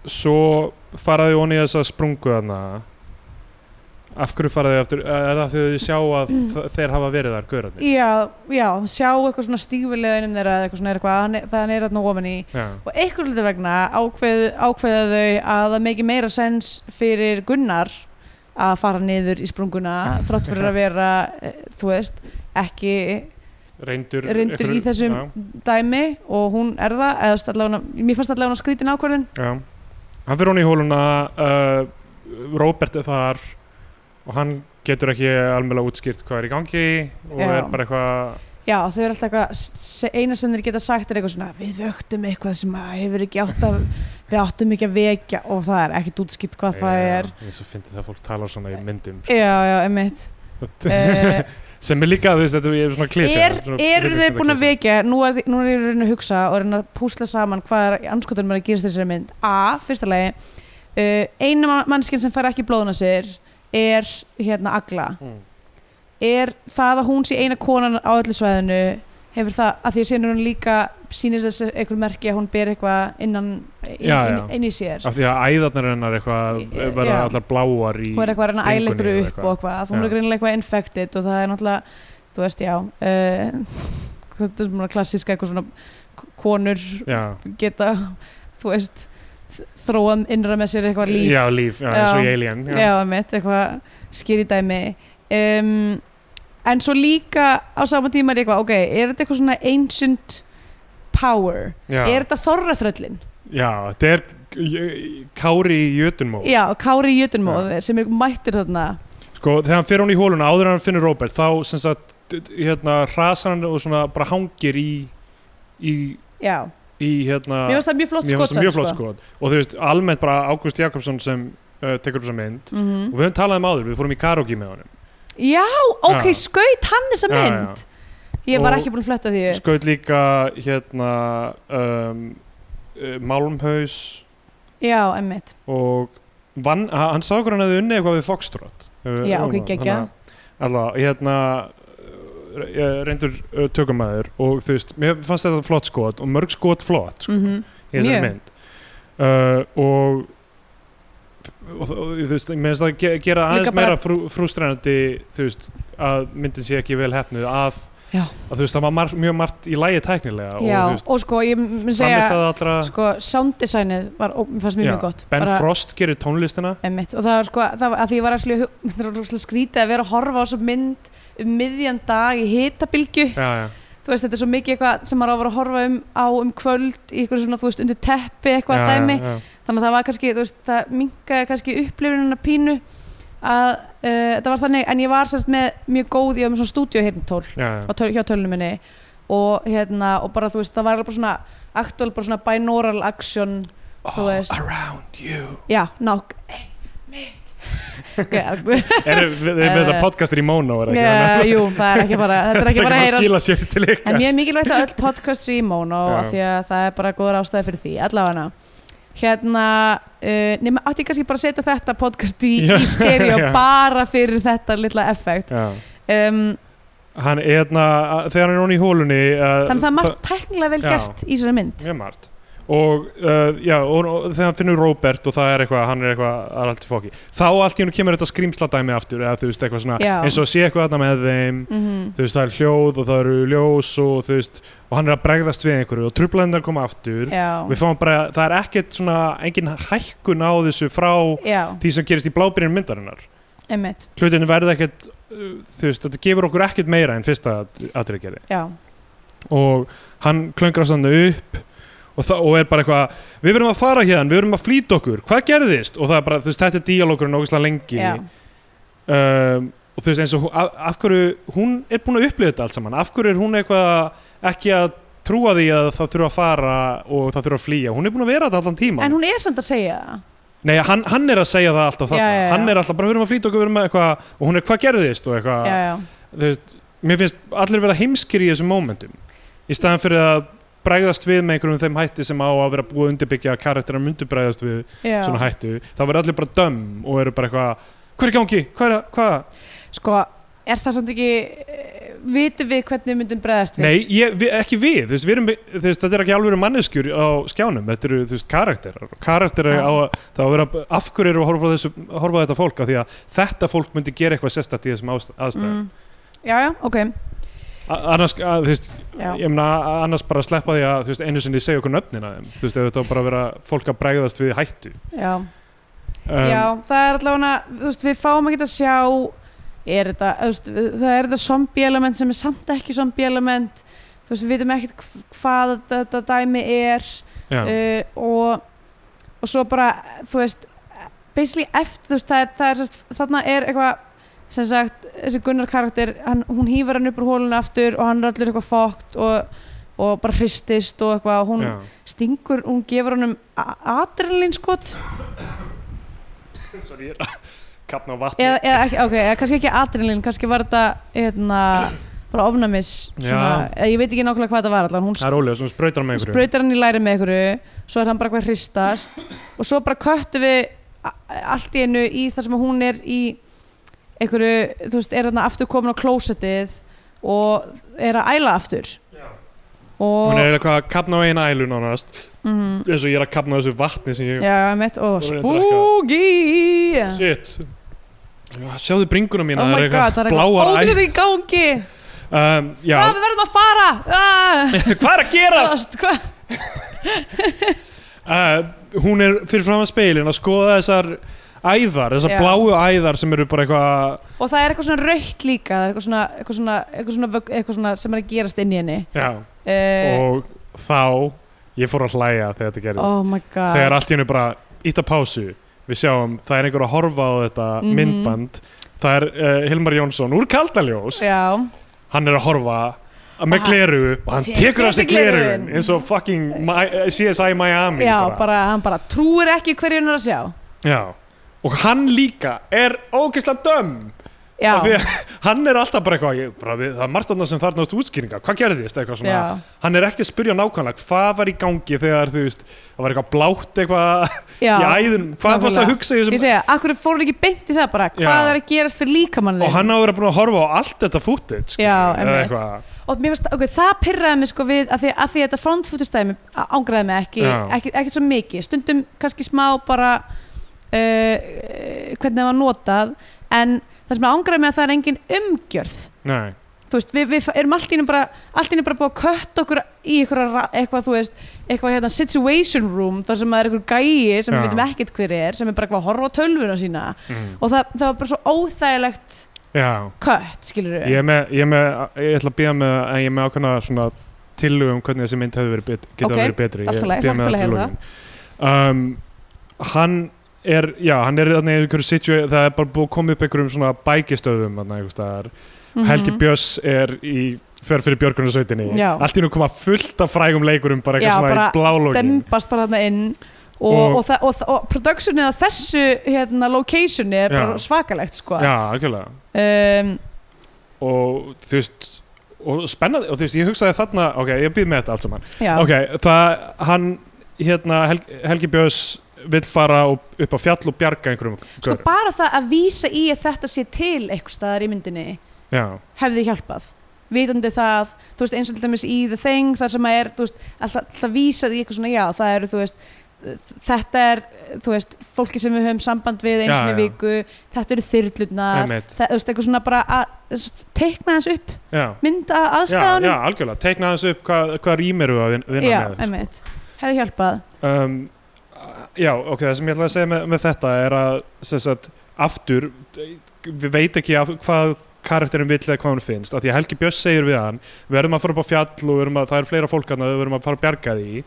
S3: Svo faraði hún í þessa sprungu þarna Af hverju faraði aftur Er það af því að þau sjá að
S2: Mm.
S3: þ- þeir hafa verið þar gaurarnir
S2: já, já, sjá eitthvað svona stífilega innum þeirra, eða eitthvað svona er eitthvað hann er- það er þarna ofan í
S3: Já,
S2: og einhver hluti vegna ákveð, ákveða þau að það meki meira sens fyrir Gunnar að fara niður í sprunguna þrátt fyrir að vera, eh, þú veist ekki
S3: reyndur,
S2: reyndur í
S3: einhverju-
S2: þessum
S3: já,
S2: dæmi og hún er það, eða þú veist, allavega, hún- mér fannst allavega hún að skrítin ákvörðin
S3: já. hann fyrir hún í hóluna uh, Robert er þar og hann getur ekki almjöla útskýrt hvað er í gangi og
S2: Já.
S3: er bara eitthvað
S2: Já, þau eru alltaf eitthvað, se- eina sem þeir geta sagt er eitthvað svona, við vöktum eitthvað sem að hefur ekki átt að, við áttum ekki að vekja og það er ekkit útskipt hvað það er.
S3: Já, ég svo fyndi það að fólk tala svona í myndum sko.
S2: Já, já, emitt. Uh,
S3: sem er líka, þú veist, þetta er svona klísi
S2: er, eru þeir búin að vekja, nú er, þi- nú er ég raunin að hugsa og reyna að púsla saman hvað er anskotunum er að gerast í þessari mynd. A, fyrsta lagi, uh, einu mannskinn sem fær ekki blóðuna sér er hérna agla.
S3: mm.
S2: er það að hún sé eina konan á öllu svæðinu hefur það, að því að sínur hún líka sýnir þessi einhver merki að hún ber eitthvað innan, inn,
S3: Já, já.
S2: Inn, inn í sér
S3: af því að æðarnar hennar eitthvað
S2: Í-
S3: verða
S2: já.
S3: allar bláar í
S2: hún er eitthvað að reyna að æla
S3: bringunni
S2: ykkur
S3: eða
S2: upp og eitthvað, hún
S3: Já.
S2: er greinilega eitthvað infected og það er náttúrulega, þú veist, já uh, þetta er svona klassíska eitthvað svona k- konur
S3: já,
S2: geta, þú veist þróað innra með sér eitthvað líf
S3: já, líf, já, eins
S2: Já.
S3: og í Alien já.
S2: já, mitt, eitthvað skýri dæmi um, en svo líka á sama tíma er ég eitthvað, ok, er þetta eitthvað svona ancient power,
S3: Já.
S2: er þetta þorraþröllin
S3: Já, þetta er j- Kári í Jötunmó
S2: já, Kári Jötunmóð sem er mættir þarna
S3: Sko, þegar hann fyrir hún í hóluna áður en hann finnur Robert þá sem sagt, d- d- hérna, hrasar hann og svona bara hangir í í,
S2: já,
S3: í hérna
S2: mér finnst það mjög flott sko.
S3: mér fannst
S2: skottsett
S3: það mjög flott skot og þú veist, almennt bara Ágúst Jakobsson sem uh, tekur upp þessa mynd
S2: mm
S3: og við höfum talað um áður, við fórum í karaoke með honum
S2: já, ok,
S3: Já.
S2: skaut hann þessa
S3: Já,
S2: mynd ég var
S3: Og-
S2: ekki búin að fletta því upp.
S3: skaut líka hérna um, uh, Malmhaus
S2: já, emmitt,
S3: og vann, ha- hann sá okkur hann hefði unnið eitthvað við Foxtrot Eh,
S2: Já, ok,
S3: núna.
S2: geggjað.
S3: Þannig að- Alla, hérna eh, ég reyndur eh, tökumæður og þú veist, mér fannst þetta flott skot og mörg skot flott sko,
S2: mm
S3: í þessari
S2: mjög.
S3: mynd uh, og og og, þú veist, mér finnst það ge- gera
S2: Líka
S3: aðeins
S2: bara-
S3: meira frú, frústrænandi þú veist, að myndin sé ekki vel hefnuð að,
S2: Já.
S3: að þú veist, það var mar, mjög margt í lægi
S2: já,
S3: tæknilega og þú veist,
S2: og sko, ég mun segja
S3: framist allra
S2: sko, sounddesignið var, ó, mér fannst mjög
S3: Já,
S2: mjög gott
S3: Ben
S2: Bara-
S3: Frost gerir tónlistina
S2: Einmitt. og það var sko, það var, að því ég var að slíu það var rosalega skrítið að vera að horfa á þessu mynd um miðjan dag í hitabilgju
S3: já, já,
S2: þú veist, þetta er svo mikið eitthvað sem maður á að vera að horfa um á um kvöld í eitthvað svona, þú veist, undir teppi eitthvað
S3: já,
S2: dæmi,
S3: já, já.
S2: þannig að það var kannski, þú veist, það minkaði kannski upplifunina pínu að uh, þetta var þannig, en ég var sérst með mjög góð, ég var með svona stúdíu hérna tól
S3: Já, já.
S2: á töl, hjá tölunum minni og hérna, og bara, þú veist, það var alveg bara svona aktúal, bara svona binaural action þú veist,
S3: around you
S2: já, nák mitt Já,
S3: Erum við erum með
S2: Eh,
S3: þetta podcastir í mono er það ekki
S2: Já,
S3: þannig?
S2: jú, það er ekki bara, þetta er ekki bara að
S3: að
S2: heyrast
S3: skila sér til
S2: En
S3: ykkar
S2: mjög mikilvægt að öll podcast sé í mono
S3: Já.
S2: af því að það er bara góður ástæði fyrir því allavega Hérna, uh, nema átti ég kannski bara að setja þetta podcast í,
S3: Já,
S2: í stereo
S3: já.
S2: bara fyrir þetta litla effekt
S3: Já.
S2: um,
S3: Hann er hérna að- þegar hann er hún í hólunni uh,
S2: Þannig að það er margt tæknilega vel
S3: Já.
S2: gert í þessari mynd
S3: mjög margt og uh, já, og, og þegar hann finnur Robert og það er eitthvað, hann er eitthvað, það er allt í fóki þá allt í hennu kemur þetta skrýmsladæmi aftur eða þú veist, eitthvað svona,
S2: Já.
S3: eins og sé eitthvað þarna með þeim
S2: mm
S3: þú veist, það er hljóð og það eru ljós og þú veist, og hann er að bregðast við einhverju og trublandar koma aftur
S2: Já,
S3: við fáum bara, það er ekkert svona engin hækkun á þessu frá
S2: já,
S3: því sem gerist í blábyrjun myndarinnar
S2: emmitt
S3: hlutinu verða ekkert uh, þú veist, þetta gefur okkur ekkert meira en fyrsta atrið gerði
S2: Já,
S3: og hann klöngrast hann upp og, það, og er bara eitthvað við verum að fara hérna, við verum að flýta okkur hvað gerðist? og það er bara, þú veist, þetta er díalókurinn ógæslega lengi
S2: já,
S3: um, og þú veist, eins og hún- af, af hverju hún er búin að upplifa þetta allt saman af hverju er hún eitthvað ekki að trúa því að það þurfa að fara og það þurfa að flýja, hún er búin að vera þetta allan tíma
S2: en hún er samt að segja það
S3: Nei, hann, hann er að segja það alltaf þarna
S2: Já, já, já.
S3: hann er alltaf bara, við verum að flýta okkur, við verum að eitthvað og hún er, hvað gerðist? og eitthvað
S2: Já, já,
S3: þú veist, mér finnst allir verða heimskir í þessum mómentum í staðan fyrir að bregðast við með einhverjum þeim hætti sem á að vera búið að undirbyggja að karakterar myndu bregðast við
S2: já.
S3: svona hættu þá verða allir bara döm og eru bara eitthvað hvað er í gangi, hvað er að, hvað
S2: Sko, er það samt ekki eh, vitum við hvernig við myndum bregðast við
S3: nei, ég, við, ekki við, þú veist, við erum, þú veist, þetta er ekki alveg manneskjur á skjánum þetta eru, þú veist, karakterar og karakterar
S2: Já.
S3: á að, það á að vera, af hverju eru að horfa, á þessu, horfa á þetta fólk, af því að þetta fólk myndi gera eitthvað sérstætt í þessum ást- aðstæðum
S2: Mm. Já, já, ok
S3: A- annars, að, þú veist,
S2: Já.
S3: ég meina a- annars bara sleppa því að þú veist, einu sinni segja okkur nöfnin að þeim þú veist, ef þetta var bara að vera fólk að bregðast við hættu
S2: Já
S3: Um,
S2: Já, það er allavega, þú veist, við fáum ekki að sjá er þetta, þú veist, við- það er þetta zombie element sem er samt ekki zombie element þú veist, við vitum ekkert hv- hvað þetta dæmi er
S3: já,
S2: uh, og og svo bara, þú veist basically eftir, þú veist, það er, það er sest, þarna er eitthvað sem sagt, þessi Gunnar karakter, hann, hún hýfur hann upp úr hólun aftur og hann er allir eitthvað fókt og, og bara hristist og eitthvað og hún
S3: já.
S2: stingur, hún gefur honum sko, adrenalinskot
S3: Sorry, ég er að kapna á vatni.
S2: eða, eða, ekki, okay, eða kannski ekki adrenalin kannski var þetta hérna, bara ofnæmis svona, eða, ég veit ekki nákvæmlega hvað þetta var allan hún
S3: það er ólega, svona sprautar með einhverju.
S2: sprautar hann í læri með einhverju svo er hann bara hvað hristast og svo bara köttu við a- allt í einu í þar sem hún er í einhverju, þú veist, er hann aftur komin á klósettið og er að æla aftur og
S3: Hún er eiginlega hvað að kapna á eina ælu nánast,
S2: mhm,
S3: eins og ég er að kapna á þessu vatni sem ég...
S2: já, mitt, og
S3: Hún er að
S2: spooky
S3: Shit. Já, Sjáðu bringuna mína,
S2: oh my god, það er
S3: bláar
S2: eitthvað
S3: æl.
S2: ógæðið í gangi
S3: Um, já,
S2: hvað, við verðum að fara ah,
S3: hvað er að gerast?
S2: hvað
S3: Uh, hún er fyrir fram að speilin að skoða þessar æðar, þessar
S2: Já.
S3: bláu æðar sem eru bara eitthvað...
S2: og það er eitthvað svona raukt líka það er eitthvað svona, eitthvað svona, eitthvað svona, vögg- eitthvað svona sem er að gerast inn í henni
S3: Já,
S2: uh,
S3: og þá, ég fór að hlæja þegar þetta gerist.
S2: oh my god
S3: þegar allt í hennu bara ítta pásu við sjáum, það er einhver að horfa á þetta
S2: Mhm.
S3: myndband, það er uh, Hilmar Jónsson úr Kaldaljós
S2: já,
S3: hann er að horfa að- með
S2: Og hann-
S3: gleru og hann
S2: Tekur
S3: tekur af
S2: af sér
S3: sig glerugun
S2: gleraugun.
S3: eins og fucking eh, Mi- CSI Miami
S2: já
S3: bara.
S2: bara, hann bara trúir ekki hverju hann er að sjá
S3: Já. og hann líka er ógeðslega dömm
S2: já,
S3: Af því að hann er alltaf bara eitthvað ég, bara, við, það er margt annað sem þarnaðast útskýringa hvað gerðist eitthvað svona
S2: já,
S3: hann er ekki að spyrja nákvæmlega hvað var í gangi þegar þú veist það var eitthvað blátt eitthvað
S2: já.
S3: í æðun hvað varst
S2: nákvæmlega.
S3: að hugsa í þessum
S2: ég segja, akkur fór hann ekki beint í það bara hvað
S3: Já.
S2: er að gerast fyrir líkamannlega
S3: og hann á að vera búin að horfa á allt þetta footage skilur,
S2: Já,
S3: eða
S2: einmitt.
S3: eitthvað.
S2: og mér finnst, ok, það pyrraði mig sko við að því að því þetta frontfútustæmi ángraði mig ekki,
S3: Já.
S2: ekki, ekkert svo mikið stundum kannski smá bara uh, uh, hvernig það var notað en það sem ángraði mig að það er engin umgjörð
S3: Nei,
S2: þú veist, við, við erum allt í einu bara allt í einu bara búið að kött okkur í einhverja ra- eitthvað, þú veist, eitthvað hérna situation room þar sem að er einhver gæi sem við
S3: Já.
S2: veitum ekkert hver er, sem er bara eitthvað að horfa á tölvuna sína
S3: mm.
S2: og það, það var bara svo óþægilegt
S3: já
S2: kött, skilur
S3: ég, er með, ég, er með, ég ætla að bíða með en ég er með ákveðna svona tillögum hvernig þessi mynd hefur verið bet, geta
S2: Ok,
S3: verið betri
S2: allt í lagi,
S3: ég bíða
S2: hlakka til að
S3: með
S2: heyra
S3: það um, hann er já, hann er þannig einhverju situ það er bara búið að koma upp einhverjum svona bækistöðum þarna einhvers staðar.
S2: Mhm.
S3: Helgi Björns er í fer fyrir björgunarsveitinni
S2: Já.
S3: allt í nú koma fullt af frægum leikurum bara
S2: Já,
S3: eitthvað svona
S2: bara
S3: í blálógin
S2: dembast bara þarna inn og,
S3: Og-
S2: og, og, það- og, og, og productionið að þessu hérna, locationi er
S3: Já.
S2: bara svakalegt sko.
S3: já, algjörlega
S2: um,
S3: og þú veist og spennandi, og þú veist, ég hugsaði þarna ok, ég býð með þetta allt saman
S2: já.
S3: ok, það, hann, hérna Hel Helgi Björns vill fara og, upp á fjall og bjarga einhverjum
S2: sko,
S3: gaurum.
S2: bara það að vísa í að þetta sé til eitthvað staðar í myndinni
S3: já,
S2: hefði hjálpað vitandi það, þú veist, eins og til dæmis í The Thing þar sem að er, þú veist, alltaf, alltaf vísað í eitthvað svona, já, það eru, þú veist þetta er, þú veist, fólki sem við höfum samband við eins
S3: Já,
S2: og í
S3: já.
S2: viku þetta eru þyrlurnar,
S3: einmitt
S2: það, þú veist, eitthvað svona bara að s- teikna þess upp,
S3: já,
S2: mynda
S3: já, já,
S2: aðstæðanum
S3: algjörlega, teikna þessu upp hvað, hvað rým eru að vin- vinna
S2: já,
S3: með
S2: einmitt, hefði hjálpað
S3: um, já, ok, það sem ég ætlaði að segja með, með þetta er að sem sagt, aftur, við veit ekki af, hvað karakterin vill eða hvað hún finnst af því að Helgi Björns segir við hann við erum að fara upp á fjall og við erum að, það er fleira fólk hann við erum að fara að bjarga því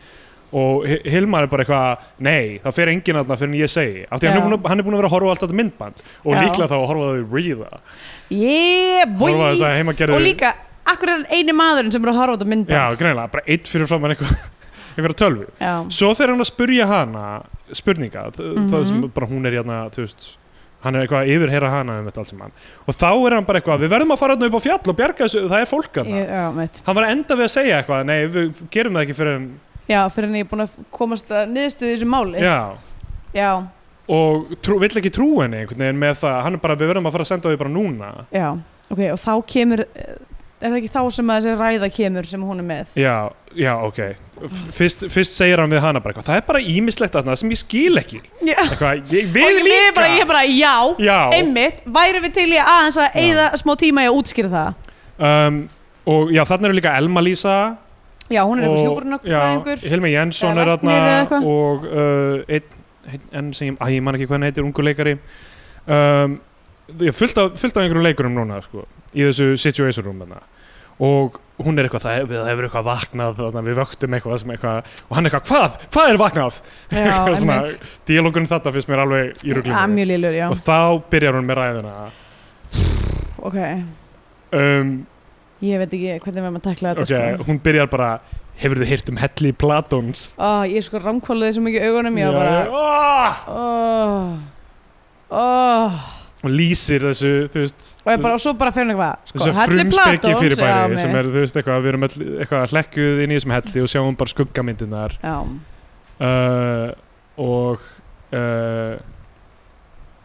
S3: og Hi- Hilmar er bara eitthvað, nei, það fer enginn aðna fyrir en ég segi, af því að hann
S2: Já.
S3: er búinn að- hann er búin að vera að horfa á allt þetta myndband og
S2: Já.
S3: líklega þá að horfa þau ríða
S2: yeah, boy
S3: horfa þess að heima
S2: og
S3: gerðu
S2: líka, akkur er eini maðurinn sem er að horfa á þetta
S3: já,
S2: myndband
S3: greinilega, bara eitt fyrir framann einhver, einhverja tölvu
S2: já,
S3: svo fer hann að spurja hana spurninga, mm það sem
S2: Mhm.
S3: bara hún er hérna, þú veist, hann er eitthvað að yfirheyra hana um þetta allt sem hann, og þá er hann bara eitthvað, við verðum að fara hérna upp á fjall og bjarga þessu það er fólk hann,
S2: Ég- já, einmitt
S3: hann var að enda við að segja eitthvað, nei, við gerum það ekki fyrir en,
S2: já, fyrir en ég er búin að komast að niðurstöðu í þessu máli
S3: já,
S2: já, og
S3: trú, vill ekki trú henni einhvern veginn með það, hann er bara, við verðum að fara að senda þau bara núna,
S2: Já, ok, og þá kemur eh, er það ekki þá sem að þessi ræða kemur sem hún er með?
S3: já, já, ok F- fyrst, fyrst segir hann við hana bara eitthvað, það er bara ímislegt þarna sem ég skil ekki
S2: Já.
S3: eitthvað, ég,
S2: og
S3: við
S2: ég- ég er bara, ég er
S3: líka
S2: bara, já,
S3: já,
S2: einmitt væri við til í aðeins að
S3: Já.
S2: eyða smá tíma í að útskýra það
S3: um, og já, þarna eru líka Elma Lísa
S2: Já, hún er
S3: Og-
S2: hjúkurinn okkur fræðingur
S3: já, Hilmi Jensson
S2: Eða
S3: er
S2: læknir eða
S3: þarna
S2: eitthvað.
S3: og uh, einn heit- enn sem ég, að ég man ekki hvað hann heitir, ungu leikari um, ég fullt af, fullt af einhverjum leikurum núna sko, í þessu situation room þarna. og hún er eitthvað það, hef- það hefur eitthvað vaknað þarna, við vöktum eitthvað, sem eitthvað og hann eitthvað, hvað, hvað er vaknað
S2: já,
S3: Svona,
S2: einmitt.
S3: díalógun þetta finnst mér alveg í
S2: Ah,
S3: ruglum
S2: mjög lillur, já,
S3: og þá byrjar hún með ræðina
S2: ok
S3: um,
S2: ég veit ekki hvernig við erum að tekla þetta
S3: ok, hún byrjar bara hefur þið hýrt um helli Platons
S2: sko. Ó, ég er sko rámkólaði svo mikið í augunum ég var bara
S3: bara
S2: oh, oh.
S3: og lýsir þessu, þú veist
S2: og ég bara, og svo bara fyrir eitthvað sko,
S3: þessu
S2: helli
S3: frumspeki
S2: Platons,
S3: fyrir
S2: já,
S3: bæri
S2: mitt.
S3: sem er, þú veist, eitthvað, við erum all, eitthvað hlekkuð inn í þessum helli og sjáum bara skuggamyndinar
S2: já,
S3: uh, og uh,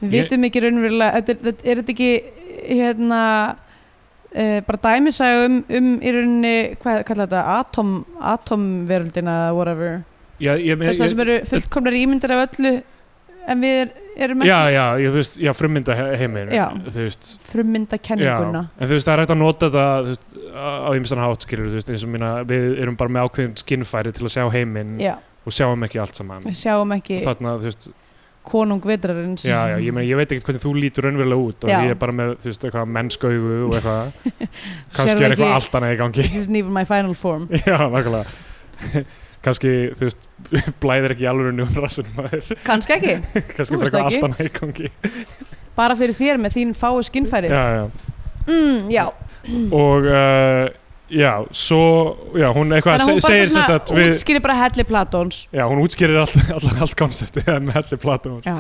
S2: við
S3: Ég-
S2: vitum ekki raunverulega þetta er, þetta- er þetta ekki hérna Uh, bara dæmisæg um, um í rauninni, hvað kallar þetta, atom, atomveröldina eða whatever
S3: já, ég, ég,
S2: þess að
S3: ég,
S2: sem eru fullkomnar ímyndir af öllu en við er, erum
S3: já,
S2: ekki
S3: já, ég, þú veist, já, frummynda heimir
S2: Já.
S3: þú veist
S2: frummyndakenninguna
S3: en þú veist, það er hægt að nota þetta þú veist, á ymsan hátt skilur, þú veist, eins og mína við erum bara með ákveðin skinnfæri til að sjá heiminn
S2: já,
S3: og sjáum ekki allt saman
S2: við sjáum ekki
S3: og þarna, þú veist,
S2: konung vitrarins
S3: já, já, ég, meni, ég veit ekki hvernig þú lítur raunverulega út og
S2: Já.
S3: ég er bara með, þú veist, eitthvað mennskaugu og eitthvað,
S2: Sérðu
S3: kannski er
S2: ekki-
S3: eitthvað allt annað í gangi
S2: this isn't even my final form
S3: já, nákvæmlega kannski, þú veist, blæðir ekki alveg nú um rassinum maður,
S2: kannski ekki,
S3: kannski
S2: Þú
S3: bara
S2: veist ekki.
S3: eitthvað allt annað í gangi
S2: bara fyrir þér með þín fáu skinnfæri
S3: já, já,
S2: mm, já.
S3: og uh, já, svo já, hún eitthvað,
S2: þannig að hún
S3: se-
S2: bara
S3: segir sem
S2: svona
S3: sagt við,
S2: útskýri bara helli Platons
S3: já, hún útskýrir allt, allan allt konseptið með helli platum
S2: já,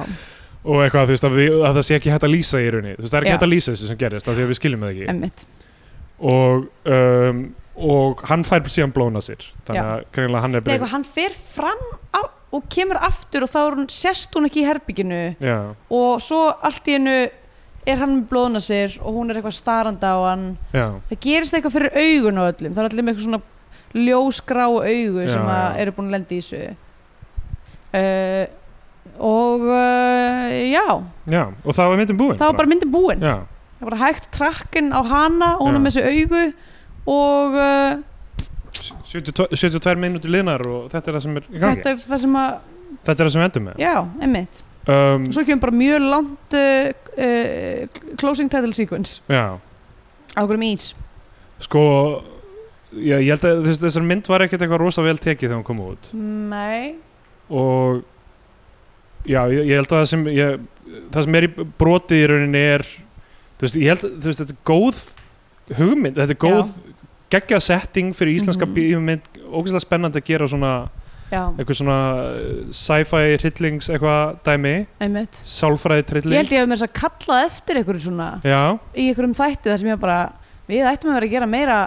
S3: og eitthvað, þú veist, að, við, að það sé ekki hægt að lýsa í rauninni, þú veist, það er ekki
S2: Já.
S3: hægt að lýsa þessu sem gerist af því að við skiljum það ekki
S2: emmitt
S3: og, um, og hann fær síðan blóna sér þannig
S2: Já.
S3: að greinlega hann er
S2: Nei, eitthvað, hann fer fram á, og kemur aftur og þá er hún, sest hún ekki í herbygginu
S3: já,
S2: og svo allt í hennu er hann með blóðna sér og hún er eitthvað starandi á hann
S3: já,
S2: það gerist eitthvað fyrir augun á öllum það er allir með eitthvað svona ljósgrá augu
S3: Já,
S2: sem að
S3: já.
S2: eru búin að lenda í þessu uh, og uh, já,
S3: já og það var myndin búin
S2: þá var bara myndin búin
S3: já,
S2: það var hægt trakkinn á hana og hún er
S3: Já.
S2: með þessu augu og uh,
S3: 72, 72 mínútur liðnar og þetta er það sem er í gangi þetta,
S2: þetta er það sem að
S3: er það sem við endum með
S2: já, einmitt,
S3: um,
S2: og svo kemur bara mjög langt uh, uh, closing title sequence
S3: já,
S2: á hverjum ís
S3: sko já, ég held að þess, þessar mynd var ekkert eitthvað rosa vel tekið þegar hún kom út
S2: nei,
S3: og já, ég, ég held að það sem ég, það sem er í broti í rauninni er þú veist, ég held, þú veist, þetta er góð hugmynd, þetta er góð geggja setting fyrir íslenska
S2: Mhm.
S3: bíómynd ógeðslega spennandi að gera svona
S2: já,
S3: eitthvað svona eh, sci-fi hryllings eitthvað dæmi,
S2: einmitt
S3: sálfræði
S2: ég
S3: trilling
S2: held ég hef mér þess að kalla eftir einhverju svona
S3: já,
S2: í einhverjum þætti þar sem ég bara við ættum að vera að gera meira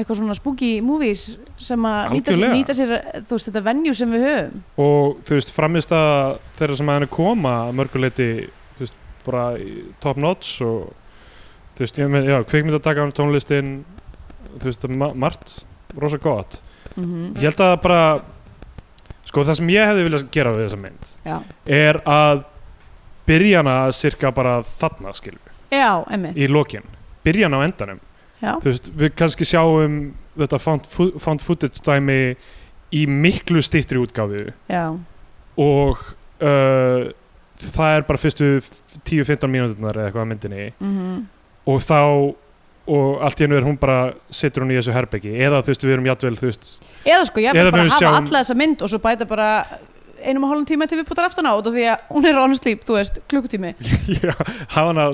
S2: eitthvað svona spooky movies sem að nýta sér,
S3: Algjörlega.
S2: nýta sér þú veist þetta venue sem við höfum
S3: og þú veist framist að þeirra sem að henni koma að mörguleiti þú veist bara í top notch og þú veist ég með já kvikmyndataka án tónlistin þú veist ma margt rosa gott
S2: mm
S3: ég held að bara sko það sem ég hefði viljað gera við þessa mynd
S2: já.
S3: er að byrjana cirka bara þarna skilur
S2: já, emmitt
S3: í lokin byrjan á endanum
S2: já,
S3: þú veist, við kannski sjáum þetta found, fo- found footage dæmi í miklu stýttri útgáfu
S2: já,
S3: og uh, það er bara fyrstu f- 10-15 mínúturnar eða eitthvað að myndinni
S2: mm
S3: og þá og allt í hennu er hún bara situr hún í þessu herbyggi eða þú veist við erum játvel þú veist
S2: eða sko ég
S3: Eða
S2: vil bara
S3: við
S2: hafa
S3: sjáum-
S2: alla þessa mynd og svo bæta bara einum og hálfum tíma til við bútar aftan á út af því að hún er on sleep, þú veist, klukkutími
S3: já, hafa hana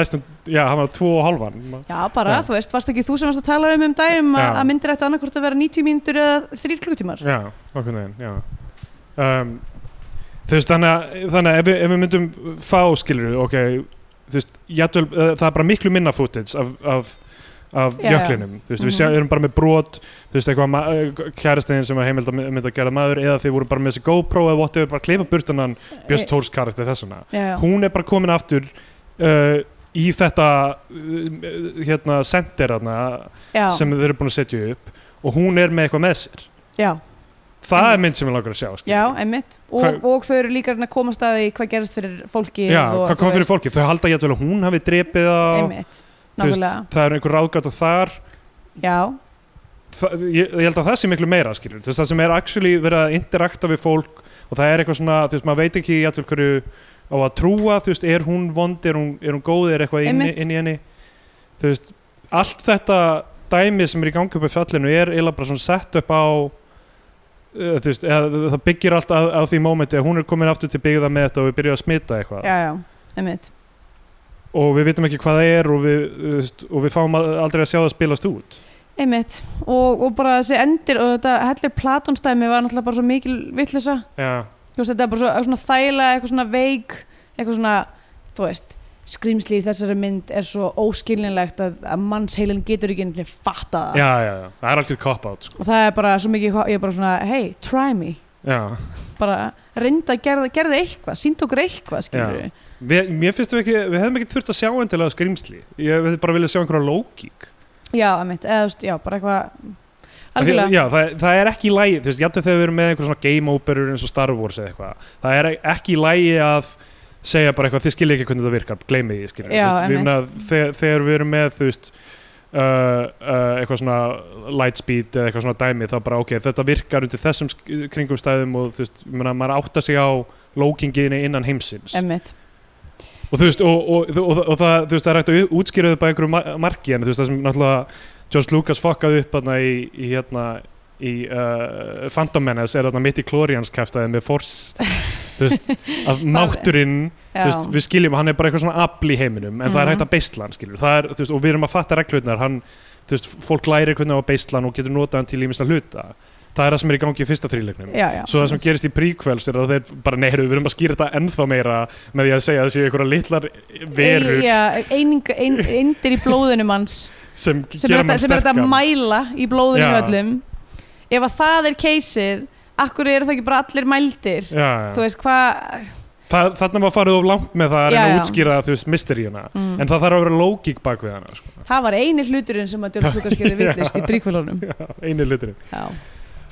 S3: næstum já, hafa hana tvo og halvan
S2: já, bara,
S3: Já.
S2: þú veist, varst ekki þú sem varst að tala um um dagum
S3: Já.
S2: að að myndir ættu annarkvort að vera 90 mínútur eða 3 klukkutímar
S3: já, okkur neginn, já um, þú veist, þannig að, þannig að ef, við, ef við myndum fá skilur ok, þú veist, játvel það er bara miklu minna footage af, af af
S2: Já, já.
S3: jöklinum, þú veist, við sjá,
S2: Mhm.
S3: erum bara með brot þú veist, eitthvað kærasteðin sem er heimild að mynd að gera maður eða þið voru bara með þessi GoPro eða whatever, bara kleipa burtanan Björns Tórs karakter þessuna
S2: Eh. já, já.
S3: hún er bara komin aftur uh, í þetta uh, hérna center hana,
S2: já,
S3: sem þeir eru búin að setja upp og hún er með eitthvað með sér
S2: já.
S3: það
S2: Einmitt.
S3: er mynd sem ég langar að sjá sko. skilur.
S2: Já, einmitt og,
S3: Hvað-
S2: og þau eru líka að reyna að komast að því hvað gerist fyrir fólki
S3: Já,
S2: og,
S3: hvað
S2: þú
S3: kom fyrir
S2: veist,
S3: fólki, þau halda ég að hún hafi drepið á,
S2: Einmitt,
S3: þú veist,
S2: nákvæmlega
S3: það er einhver ráðgata þar
S2: Já,
S3: það, ég, ég held að það sé miklu meira skilur, þú veist, það sem er actually verið að interakta við fólk og það er eitthvað svona, þú veist, maður veit ekki játvel hverju á að trúa, þú veist, er hún vond er hún, er hún góð, er eitthvað inn,
S2: Einmitt.
S3: inn í henni þú veist, allt þetta dæmi sem er í gangi upp í fjallinu er eiginlega bara svona sett upp á uh, þú veist, eða, það byggir allt að, að því mómenti að hún er komin aftur til byggða með þetta og við byrjuð að smita eitthvað
S2: já, já, einmitt
S3: og við vitum ekki hvað það er og við, þú veist, og við fáum al- aldrei að sjá það spilast út
S2: einmitt og, og bara þessi endir og þetta hellir platónstæmi var náttúrulega bara svo mikil vittlisa
S3: Já,
S2: þú veist þetta er bara svo, svona þæla eitthvað svona veik eitthvað svona, þú veist skrýmsli í þessari mynd er svo óskilinlegt að, að mannsheilin getur ekki einhvern veginn fatta það
S3: já, já, já. það er algjörð cop-out sko.
S2: og það er bara svo mikið, ég er bara svona hey, try me,
S3: Já,
S2: bara reynda að gerða, gerða eitthvað, sínd okkur eitthvað skilur við,
S3: við, mér finnst við ekki, við hefðum ekki þurft að sjá endilega skrýmsli, ég hefði bara viljað sjá einhverja lógík.
S2: já, einmitt, eða þú veist, já, bara eitthvað
S3: Af því-
S2: algjörlega,
S3: Já, það, það er ekki í lægi, þú veist, játtu þegar við erum með einhver svona game operur eins og Star Wars eða eitthvað, það er ekki í lægi að segja bara eitthvað, þið skilja ekki hvernig það virkar, gleymi því, skilja.
S2: Já, einmitt.
S3: þegar, þegar við erum með, þú veist, Uh, uh, eitthvað svona lightspeed eða eitthvað svona dæmi þá bara ok, þetta virkar undir þessum sk- kringumstæðum og þú veist, ég meina, maður átta sig á lókinginni innan heimsins
S2: einmitt
S3: og þú veist, og, og, og, og, og það, þú veist, það er hægt að útskýra þetta á einhverju mar- marki en þú veist, það sem náttúrulega George Lucas fokkaði upp hérna í, í hérna í uh, Phantom Menace er þarna mitt í Glorians kæftæði með Force þú veist, að mátturinn þú
S2: já,
S3: veist, við skiljum, hann er bara eitthvað svona afl í heiminum en það er
S2: Mhm.
S3: hægt að beisla hann, skiljum það er, þú veist, og við erum að fatta reglurnar hann, þú veist, fólk læri hvernig á að beisla hann og getur notað hann til ímislega hluta það er það sem er í gangi í fyrsta þrýleiknum
S2: já, já,
S3: Svo það sem gerist í prequels er að þeir bara neyru, við erum að skýra þetta ennþá meira með því að segja að það séu einhverja litlar verur
S2: Ei- já, eininga, ein, eindir í blóðinu manns
S3: sem,
S2: sem er,
S3: gera
S2: þetta,
S3: mann
S2: sem er þetta að
S3: sterkan.
S2: mæla í blóðinu
S3: Já.
S2: já. öllum ef að það er keysið akkur eru það ekki bara allir mældir
S3: Já,
S2: þú
S3: já.
S2: veist hvað
S3: Þa, þarna var farið of langt með það að reyna
S2: Já,
S3: að
S2: já.
S3: útskýra þú veist mysteríuna
S2: mm.
S3: en það þarf að vera lógík bak við hana sko.
S2: það var eini hluturinn sem að George Lucas gerði villist í príkvölunum
S3: Já, eini liturinn
S2: já.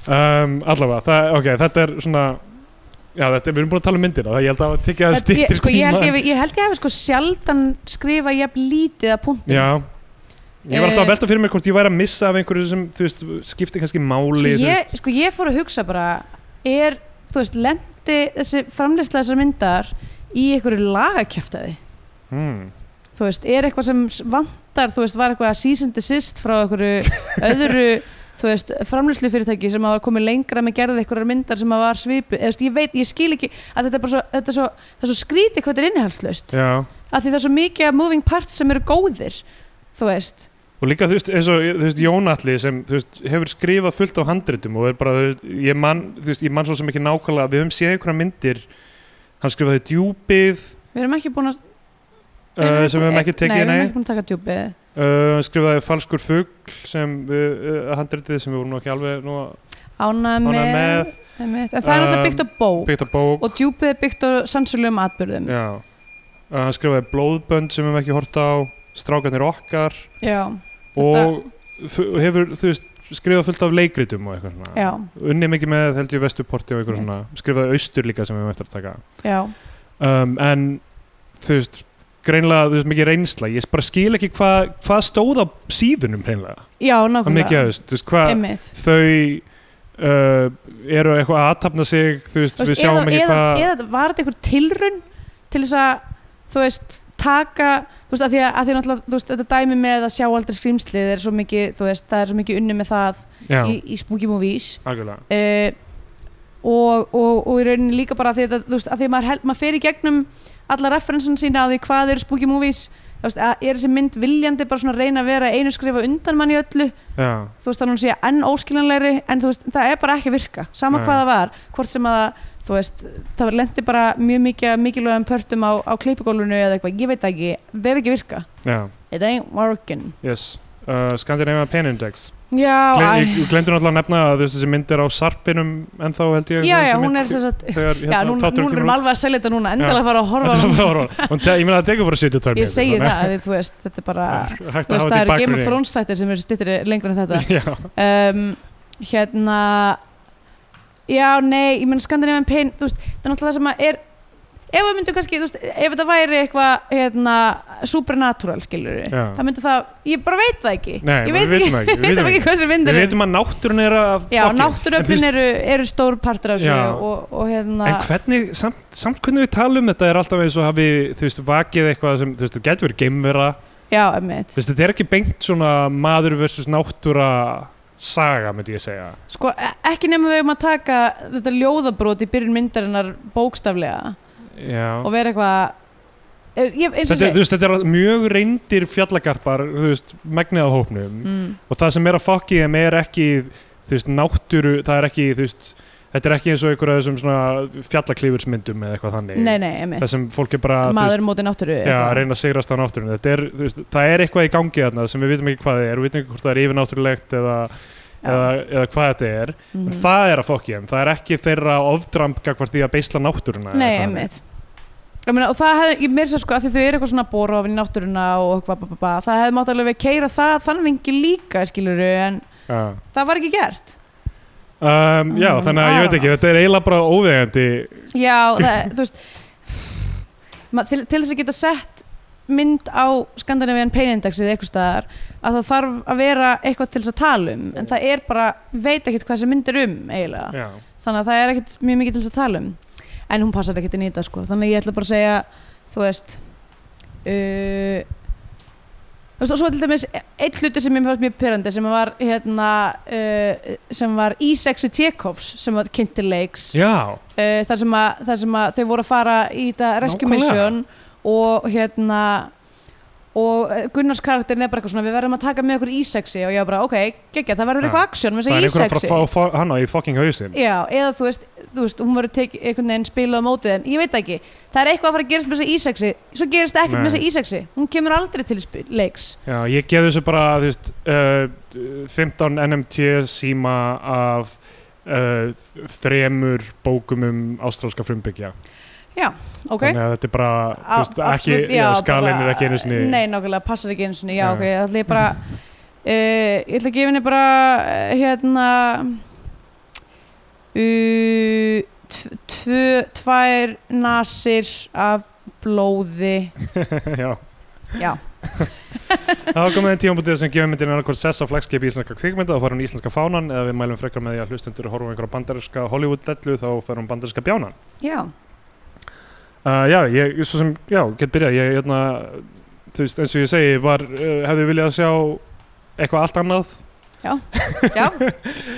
S3: um, allavega, það, ok, þetta er svona já, þetta, við erum búin að tala um myndina það ég held að það tekja það
S2: Þetta- ég,
S3: stýttir
S2: sko, ég, held ég, hafi- ég held ég hefði sko sjaldan skrifa jafn lítið að punktum
S3: já Ég var alltaf að
S2: Eh,
S3: velta fyrir mig hvort ég væri að missa af einhverju sem, þú veist, skipti kannski máli,
S2: sko,
S3: þú
S2: ég, sko ég fór að hugsa bara er, þú veist, lendi þessi framlýsla þessar myndar í einhverju lagakjæftæði
S3: veist. Hmm.
S2: þú veist, er eitthvað sem s- vantar þú veist, var eitthvað cease and desist frá einhverju öðru þú veist, framlýslu fyrirtæki sem að var komið lengra með gerðið einhverjar myndar sem að var svipu eða, þú veist, ég veit, ég skil ekki að þetta er bara svo, þetta er svo, það er svo skrítið hvað þetta er innihalslaust
S3: Já.
S2: af því það er svo mikið af moving parts sem eru góðir þú veist,
S3: Og líka þú veist, eins og þú veist, Jónatli sem þú veist, hefur skrifað fullt á handritum og er bara, þú veist, ég man, þú veist, ég man svo sem ekki nákvæmlega, við höfum séð einhverja myndir, hann skrifaði djúpið,
S2: við erum ekki búin að
S3: uh, sem við höfum ekki
S2: nei,
S3: tekið,
S2: við
S3: nei,
S2: erum ekki búin að taka djúpið
S3: Uh, hann skrifaði falskur fugl sem við, uh, handritið sem við vorum nú ekki alveg nú
S2: ánað
S3: ánað
S2: með,
S3: með,
S2: einmitt. en það er alltaf
S3: Um,
S2: byggt á bók
S3: byggt á bók,
S2: og djúpið er byggt á sansulegum atbyrðum
S3: já, uh, hann skrifaði blóðbönd sem við höfum ekki horta á, strákanir okkar
S2: já,
S3: og fu- hefur, þú veist, skrifað fullt af leikritum og eitthvað svona.
S2: já,
S3: unni mikið með held ég vesturporti og einhver
S2: Einmitt.
S3: svona skrifaði austur líka sem við höfum eftir að taka
S2: já,
S3: um, en þú veist greinlega, þú veist mikið reynsla ég bara skil ekki hvað hva stóð á síðunum hreinlega,
S2: já,
S3: hvað mikið
S2: nákvæmlega
S3: að þú veist hvað
S2: einmitt
S3: þau uh, eru eitthvað að aðtapna sig þú veist,
S2: Þú
S3: við sjáum
S2: eða,
S3: ekki
S2: eða,
S3: hvað
S2: eða var þetta einhver tilrun til þess að þú veist taka, þú veist, að því að, að því náttúrulega þú veist, þetta dæmi með að sjá aldrei skrýmslið er svo mikið, þú veist, það er svo mikið unni með það
S3: já,
S2: í, í spooky movies
S3: algjörlega
S2: uh, og, og, og í rauninni líka bara að því að, þetta- þú veist, að því að maður, hel, maður fer í gegnum alla referensan sína að því hvað eru spooky movies þú veist, að er þessi mynd viljandi bara svona að reyna að vera einu skrifa undan mann í öllu
S3: já,
S2: þú veist að hún sé enn óskiljanlegri en þú veist, það er bara ekki að virka sama
S3: Nei.
S2: hvað það var, hvort sem að þú veist, það var lendi bara mjög mikið af mikilvægum pörtum á, á kleipigólfinu eða eitthvað, ég veit það ekki, það er ekki að virka
S3: já,
S2: it ain't working
S3: yes uh, Scandinavian Pain Index
S2: já,
S3: Gle-
S2: æ,
S3: ég glemdur náttúrulega að nefna að þú veist, þessi mynd er á sarpinum en þá held ég
S2: já,
S3: þessi
S2: já,
S3: mynd-
S2: hún er þess að
S3: þegar
S2: já,
S3: hérna,
S2: nú, nú
S3: þátturinn kemur
S2: erum
S3: út.
S2: alveg að selja þetta núna endilega að fara að horfa á
S3: Þetta
S2: hana.
S3: var orðan. Og te- ég meina það tekur bara 72
S2: ég
S3: mínútur,
S2: segi
S3: þannig
S2: það, að þið- þú veist, þetta er bara
S3: að er hægt
S2: þú
S3: að
S2: veist,
S3: hafa
S2: það eru
S3: þetta
S2: Game
S3: í
S2: of
S3: bakgrunni
S2: Thrones þættir sem eru stittri lengur en þetta
S3: Já,
S2: um, hérna já, nei, ég menn Scandinavian Pain þú veist, það er náttúrulega það sem að er ef það myndi kannski, þú veist, ef þetta væri eitthvað hérna, supernatural skilur
S3: Já.
S2: það myndi það, ég bara veit það ekki
S3: Nei,
S2: ég
S3: við
S2: veit
S3: vitum það ekki, við
S2: veit
S3: vitum
S2: ekki hvað sem vindur
S3: Við veitum að náttúrun er að
S2: já,
S3: fucking- en, þú
S2: náttúröflin
S3: veist,
S2: eru, eru stór partur af
S3: Já.
S2: þessu og, og hérna
S3: en hvernig, samt, samt hvernig við tala um þetta er alltaf eins og hafi, þú veist, vakið eitthvað sem, þú veist, þetta getur verið geimvera
S2: já, emmitt
S3: Þú veist, þetta er ekki beint svona maður versus náttúra saga, myndi ég segja.
S2: sko, e- ekki nema við um að taka þetta ljóðabrót í byrjun myndarinnar bókstaflega
S3: Já.
S2: og vera eitthvað er- ég- eins og
S3: Þetta,
S2: sé
S3: er- þú veist, þetta er mjög reyndir fjallagarpar, þú veist, megnið af hópnum
S2: mm,
S3: og það sem er að fokki þeim er ekki, þú veist, náttúru, það er ekki, þú veist, þetta er ekki eins og einhverja þessum svona fjallaklífursmyndum eða eitthvað þannig.
S2: nei, nei, emmitt
S3: Það sem fólk er bara,
S2: maður móti náttúru
S3: Já, að
S2: eitthvað.
S3: reyna að sigrast á náttúrunni Þetta er, þú veist, það er eitthvað í gangi þarna sem við vitum ekki hvað það er, við vitum ekki hvort það er yfirnáttúrulegt eða,
S2: Já.
S3: eða, eða hvað þetta er
S2: Mhm.
S3: en það er að fokki þeim, það er ekki þeirra ofdramb gagvart því að beisla náttúruna eða
S2: Nei,
S3: eitthvað þannig.
S2: einmitt Ég meina, og það hefði, ég meir sér sko að því þau eru eitthvað svona að bóra ofin í náttúruna og eitthvað, ba, ba, ba, það hefði mátt alveg keira það þann vingi líka, skilur en
S3: Já.
S2: það var ekki gert.
S3: Um, já,
S2: Mm,
S3: þannig að ég veit ekki, þetta er eiginlega bara óvegandi
S2: Já, það, þú veist, ma, til, til þess að geta sett mynd á Scandinavian Pain Index eða eitthvað staðar, að það þarf að vera eitthvað til þess að tala um, en það er bara, veit ekkert hvað þessi mynd er um eiginlega.
S3: Já,
S2: þannig að það er ekkert mjög mikið til þess að tala um en hún passar ekkert inn í þetta sko þannig að ég ætla bara að segja þú veist uh, þú veist og svo til dæmis eitt hlutur sem ég fannst mjög pyrrandi sem var hérna uh, sem var Ísexi Tjekovs sem var kynnti leiks uh,
S3: já,
S2: þar, sem að, þar sem að þau voru að fara í þetta Rescue
S3: Nákvæmlega.
S2: Mission og hérna og eh, Gunnars karakterin er bara eitthvað svona við verðum að taka með okkur Ísexi og ég var bara ok, geggja, það verður
S3: Já.
S2: eitthvað aksjón með þess
S3: það er
S2: að
S3: einhver að
S2: Ísexi
S3: fara að fá hann á í fucking hausinn
S2: Já, eða þú veist, þú veist hún verður tekið einhvern veginn spilað á mótið en ég veit það ekki, það er eitthvað að fara að gerast með þessa ísexi svo gerist ekkert
S3: Nei.
S2: með þessa ísexi hún kemur aldrei til spi- leiks
S3: Já, ég gef þessu bara, þú veist, uh, 15 NMT síma af uh, þremur bókum um ástrálska frumbyggja
S2: ok?
S3: þannig að þetta er bara, þú veist,
S2: A-
S3: ekki,
S2: absolutt,
S3: já,
S2: bara-
S3: skalinn er ekki einu sinni
S2: Nei, nákvæmlega, passar ekki einu sinni, já,
S3: Nei.
S2: ok, það ætla ég bara uh, ég ætla að gefa henni bara eh, hérna uh, tv- tvö, tvær nasir af blóði
S3: já.
S2: já,
S3: Það var komið einn tímabútið sem gefur myndin annarkvort sess á flagskip íslenska kvikmynda þá fær hún íslenska fánan eða við mælum frekar með því að hlustendur horfum einhverja bandarinska Hollywood-dellu þá fær hún bandarinska bjánan.
S2: já,
S3: Uh, já, ég, svo sem, já, get byrjað, ég, hérna, þú veist, eins og ég segi, var, uh, hefði viljað sjá eitthvað allt annað.
S2: já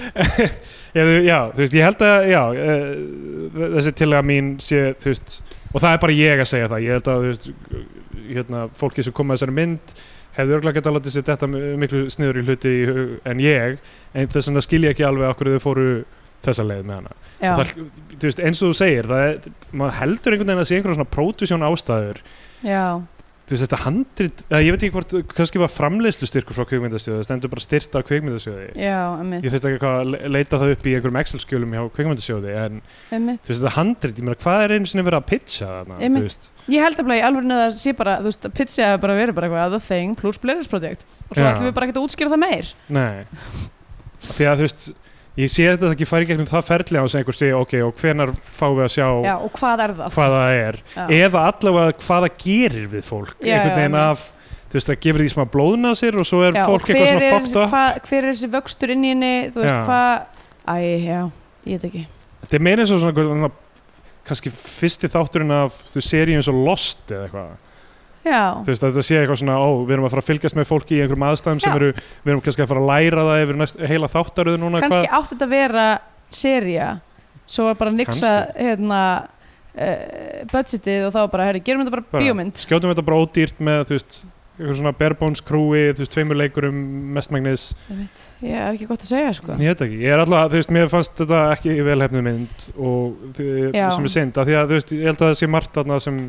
S3: Ég, hefði- já, þú veist, ég held að, já, uh, þessi tillaga mín sé, þú veist, og það er bara ég að segja það, ég held að, þú veist, hérna, fólki sem kom að þessari mynd hefði örgulega geta látið sér þetta miklu sniður í hluti í hug en ég, en þess vegna skil ég ekki alveg okkur þau fóru þessa leið með hana.
S2: já,
S3: það, þú veist, eins og þú segir það er, maður heldur einhvern veginn að sé einhverjum svona pródusjón ástæður
S2: já.
S3: þú veist, þetta handrit, eða ég veit ekki hvort kannski var framleiðslustyrkur frá kvikmyndasjóði það stendur bara styrta á kvikmyndasjóði
S2: Já, emmitt,
S3: ég þurfti ekki að le- leita það upp í einhverjum Excel-skjölum hjá kvikmyndasjóði en
S2: emmitt.
S3: þú veist, þetta handrit, ég meina, hvað er einu sinni verið að pitcha þarna,
S2: Einmitt.
S3: þú veist
S2: Ég held að í alvörinu að það sé bara, þú veist, að pizza hefur bara verið bara eitthvað the thing plus Blair's Project og svo
S3: Já.
S2: ætlum við bara ekki að útskýra það meir.
S3: nei, Af því að þú veist ég sé þetta ekki færi gegnum það ferli á sem einhver segja, ok, og hvenar fáum við að sjá
S2: Já, og hvað er það?
S3: hvað það er
S2: Já,
S3: eða allavega hvað það gerir við fólk
S2: Já,
S3: einhvern
S2: já,
S3: veginn
S2: einmitt.
S3: af þú veist það gefur því smá blóðna sér og svo er
S2: Já, og
S3: fólk eitthvað
S2: hver
S3: svona
S2: er,
S3: fokkt upp
S2: hva, hver er þessi vöxtur inn í henni, þú veist,
S3: Já.
S2: hvað, æ, já, ég veit ekki.
S3: þetta er meira eins og svona, einhver- svona kannski fyrsti þátturinn af þú séri eins og Lost eða eitthvað
S2: Já,
S3: þú veist að þetta sé eitthvað svona ó við erum að fara að fylgjast með fólki í einhverjum aðstæðum sem
S2: Já.
S3: eru við erum kannski að fara að læra það yfir næst, heila þáttaröðu núna
S2: kannski átti þetta að vera seria, svo var bara niksa, hérna, uh, budgetið og þá var bara, herri, gerum þetta bara
S3: Bara.
S2: bíómynd.
S3: skjótum þetta bara ódýrt með þú veist eitthvað svona barebones krúi þú veist tveimur leikurum mestmægnis
S2: Einmitt, ég er ekki gott að segja, sko.
S3: Ég veit ekki, ég er alltaf, þú veist, mér fannst þetta ekki velhefnu mynd og þið,
S2: Já.
S3: sem er synd, af því að þú veist, ég held að það sé margt þarna sem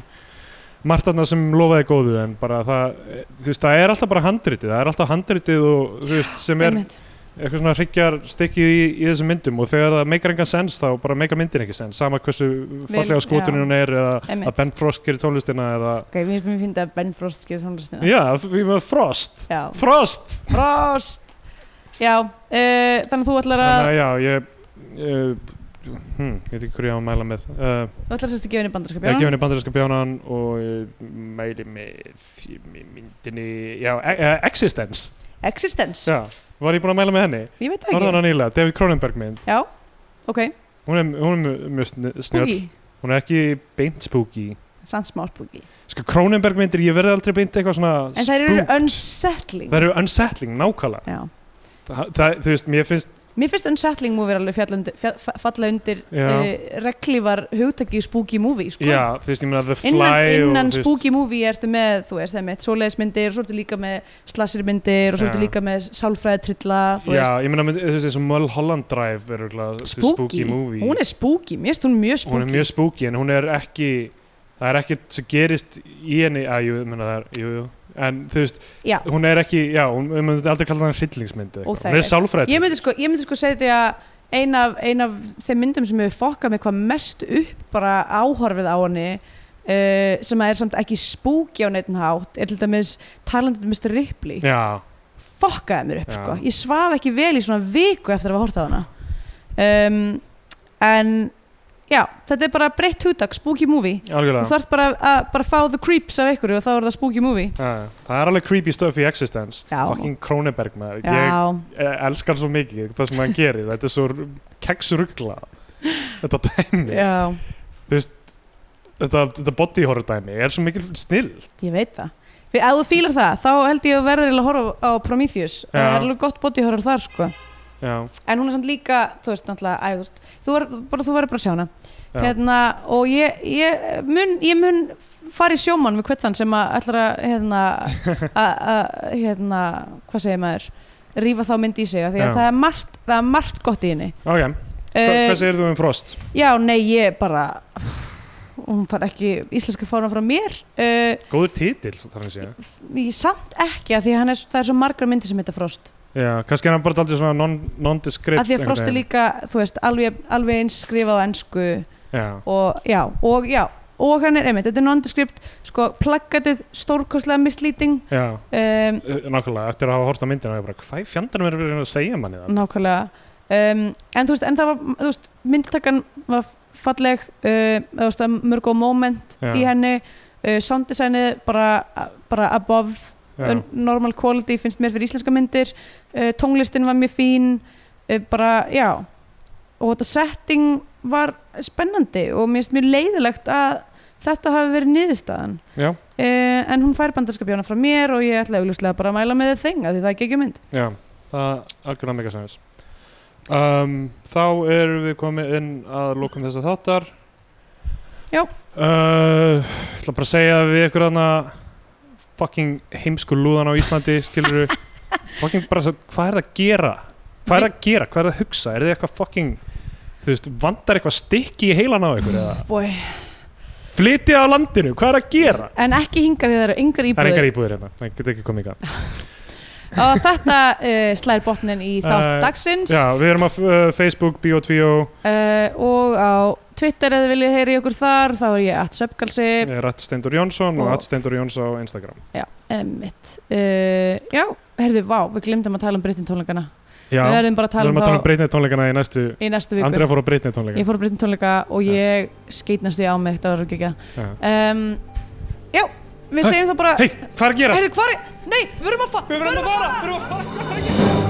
S3: margt þarna sem lofaði góðu en bara það, þú veist, það er alltaf bara handritið, það er alltaf handritið og þú veist, sem er
S2: Einmitt,
S3: eitthvað svona hryggjar stikkið í, í þessum myndum og þegar það meikar engan sens þá bara meikar myndin ekki sens, sama hversu fallega skotunin
S2: já.
S3: hún er eða
S2: einmitt.
S3: að Ben Frost gerir tónlistina eða,
S2: Ok, mér finnst mér finnst að Ben Frost gerir tónlistina.
S3: já, við með Frost
S2: Já.
S3: Frost!
S2: Frost Já, uh, þannig að þú ætlar að
S3: Þannig að já, ég, ég hm, ég veit ekki hverju ég á að mæla með uh,
S2: Þú ætlar sérst að gefa henni bandarskap
S3: ég hef henni bandarinska bjánan og ég mæli með því- með myndinni já, e e Existence
S2: Existence,
S3: já, var ég búin að mæla með henni
S2: ég veit það
S3: var
S2: ekki
S3: það nýlega, David Cronenberg mynd
S2: Já, ok,
S3: hún er, hún er mjög sn- snjöll
S2: spooky
S3: hún er ekki beint spooky
S2: Sann smá spooky
S3: sko Cronenberg myndir, ég verði aldrei beint eitthvað svona
S2: En það eru
S3: spook-
S2: unsettling
S3: þær eru unsettling, nákvæmlega
S2: Já.
S3: Þa, það, þú veist, mér finnst
S2: Mér finnst unsettling movie alveg fjalla undir, fjall, falla undir
S3: Já.
S2: uh, reglívar hugtaki í spooky movie sko.
S3: já, þú veist, ég meina The Fly
S2: innan,
S3: og,
S2: innan
S3: þú veist,
S2: spooky movie ertu með þú veist, það er með svoleiðismyndir og svo ertu líka með slasirmyndir og svo ertu
S3: Já.
S2: líka með sálfræðitrilla þú
S3: já,
S2: veist,
S3: ég meina, mynd- þú veist, eins og Mulholland Drive er örugglega
S2: spooky,
S3: spooky movie
S2: hún er spooky, mér finnst hún mjög spooky
S3: hún er mjög spooky en hún er ekki það er ekkert sem gerist í henni að jú, menna það er, jú, jú en þú veist,
S2: já,
S3: hún er ekki, já, hún við myndum aldrei kalla hann hryllingsmynd eða eitthvað. hún
S2: Óþægileg.
S3: er sálfræð
S2: ég myndi sko, ég myndi sko segja þetta að ein af, ein af þeim myndum sem hefur fokkað mig hvað mest upp bara áhorfið á henni uh, sem að er samt ekki spooky á neitt hátt, er til dæmis talandið Mr. Ripley,
S3: já,
S2: fokkaði mér upp
S3: Já.
S2: sko. ég svaf ekki vel í svona viku eftir að hafa horta á hana um, en já, þetta er bara breytt hugtak, spooky movie
S3: algjörlega
S2: þú þarf bara að bara fá the creeps af ykkur og þá er það spooky movie
S3: já, það er alveg creepy stuff í Existence
S2: Já.
S3: fucking Cronenberg maður ég
S2: já,
S3: eh, elska hann svo mikið, það sem hann gerir þetta er svo keksrugla þetta dæmi,
S2: já,
S3: þetta, þetta body horror dæmi er svo mikil snill
S2: ég veit það Fyrir, ef þú fílar það, þá held ég að verður eiginlega að horfa á Prometheus, það
S3: Já.
S2: er alveg gott body horror þar sko,
S3: já,
S2: en hún er samt líka þú veist, náttúrulega, æ, þú veist, þú verður bara, þú verður bara að sjá hana,
S3: já.
S2: hérna og ég, ég, mun, ég mun fara í sjómann við hvernig sem að ætlar að hérna, að- að- hérna hvað segir maður rífa þá mynd í sig, af því að
S3: Já.
S2: það er margt það er margt gott í henni
S3: ok, Hva,
S2: Eh,
S3: hvað segir þú um Frost?
S2: já, nei, ég bara hún far ekki íslenska fána frá mér uh,
S3: góður titill, þannig að segja
S2: ég samt ekki að því að hann er, svo- það er svo margar myndir sem heita Frost
S3: Já, kannski er hann bara aldrei svona non- non-descript
S2: að því að
S3: einhvern
S2: Frost er
S3: veginn.
S2: líka, þú veist, alveg, alveg eins skrifað á ennsku
S3: Já,
S2: og já, og já og hann er, einmitt, þetta er nondescript sko, plakatið stórkostlega mislýting
S3: já,
S2: um,
S3: eh, nákvæmlega Eftir að hafa hort á myndina ég bara, Hvað í fjandanum er verið að segja manni
S2: Mm.
S3: það?
S2: nákvæmlega um, en þú veist, en það var, þú veist myndtakan var falleg uh, þú veist, það er mörg og moment
S3: Já.
S2: í henni, uh, sounddesignið bara, bara above
S3: Já,
S2: un- normal quality finnst mér fyrir íslenska myndir uh, tónlistin var mjög fín uh, bara, já og þetta setting var spennandi og mér finnst mjög leiðilegt að þetta hafi verið niðurstaðan
S3: já,
S2: uh, en hún fær bandarskapjána frá mér og ég ætla augljóslega bara að mæla með það þing af því það er ekki ekki mynd
S3: já Það algjörlega mega sæmis um, Þá erum við komið inn að lókum þessa þáttar
S2: Já.
S3: uh, Ég ætla bara að segja við ykkur þarna fucking heimsku lúðan á Íslandi skilur við fucking bara svo- hvað er það að gera? Hvað er það að gera? Hvað er það að hugsa? Er þið eitthvað fucking þú veist, vandar eitthvað stykki í heilan á ykkur eða?
S2: Boy.
S3: Flytið á landinu, hvað er að gera?
S2: en ekki hinga því það eru yngar
S3: Það er engar
S2: íbúður
S3: íbúðir hérna, það getur ekki komið í gang.
S2: og þetta uh, slær botnin í þátt
S3: Eh,
S2: dagsins
S3: Já, við erum á uh, Facebook, Bio2,
S2: uh, og á Twitter eða viljið heyri okkur þar þá er ég at söpkalsi
S3: Rætt Steindur Jónsson og
S2: Og-
S3: Rætt Steindur Jóns á Instagram.
S2: Já, emmitt uh, Já, heyrðu, vá, við glemdum að tala um breytin tónleikana
S3: Já,
S2: Við
S3: við
S2: verðum bara að tala um
S3: erum að tala um
S2: þá
S3: breytnið tónleikana í næstu,
S2: í næstu viku
S3: Andrea fór á breytnið tónleikana.
S2: Ég fór að breytin tónleika og
S3: Já.
S2: ég skeitnast því á mig Þetta var ekki ekki
S3: Já.
S2: um, Já, við
S3: Hey,
S2: segjum þá bara
S3: Hei, hvað er að gerast?
S2: Heyrðu, hvað er, nei, við verum að fara
S3: Við verðum að fara, við verðum að fara.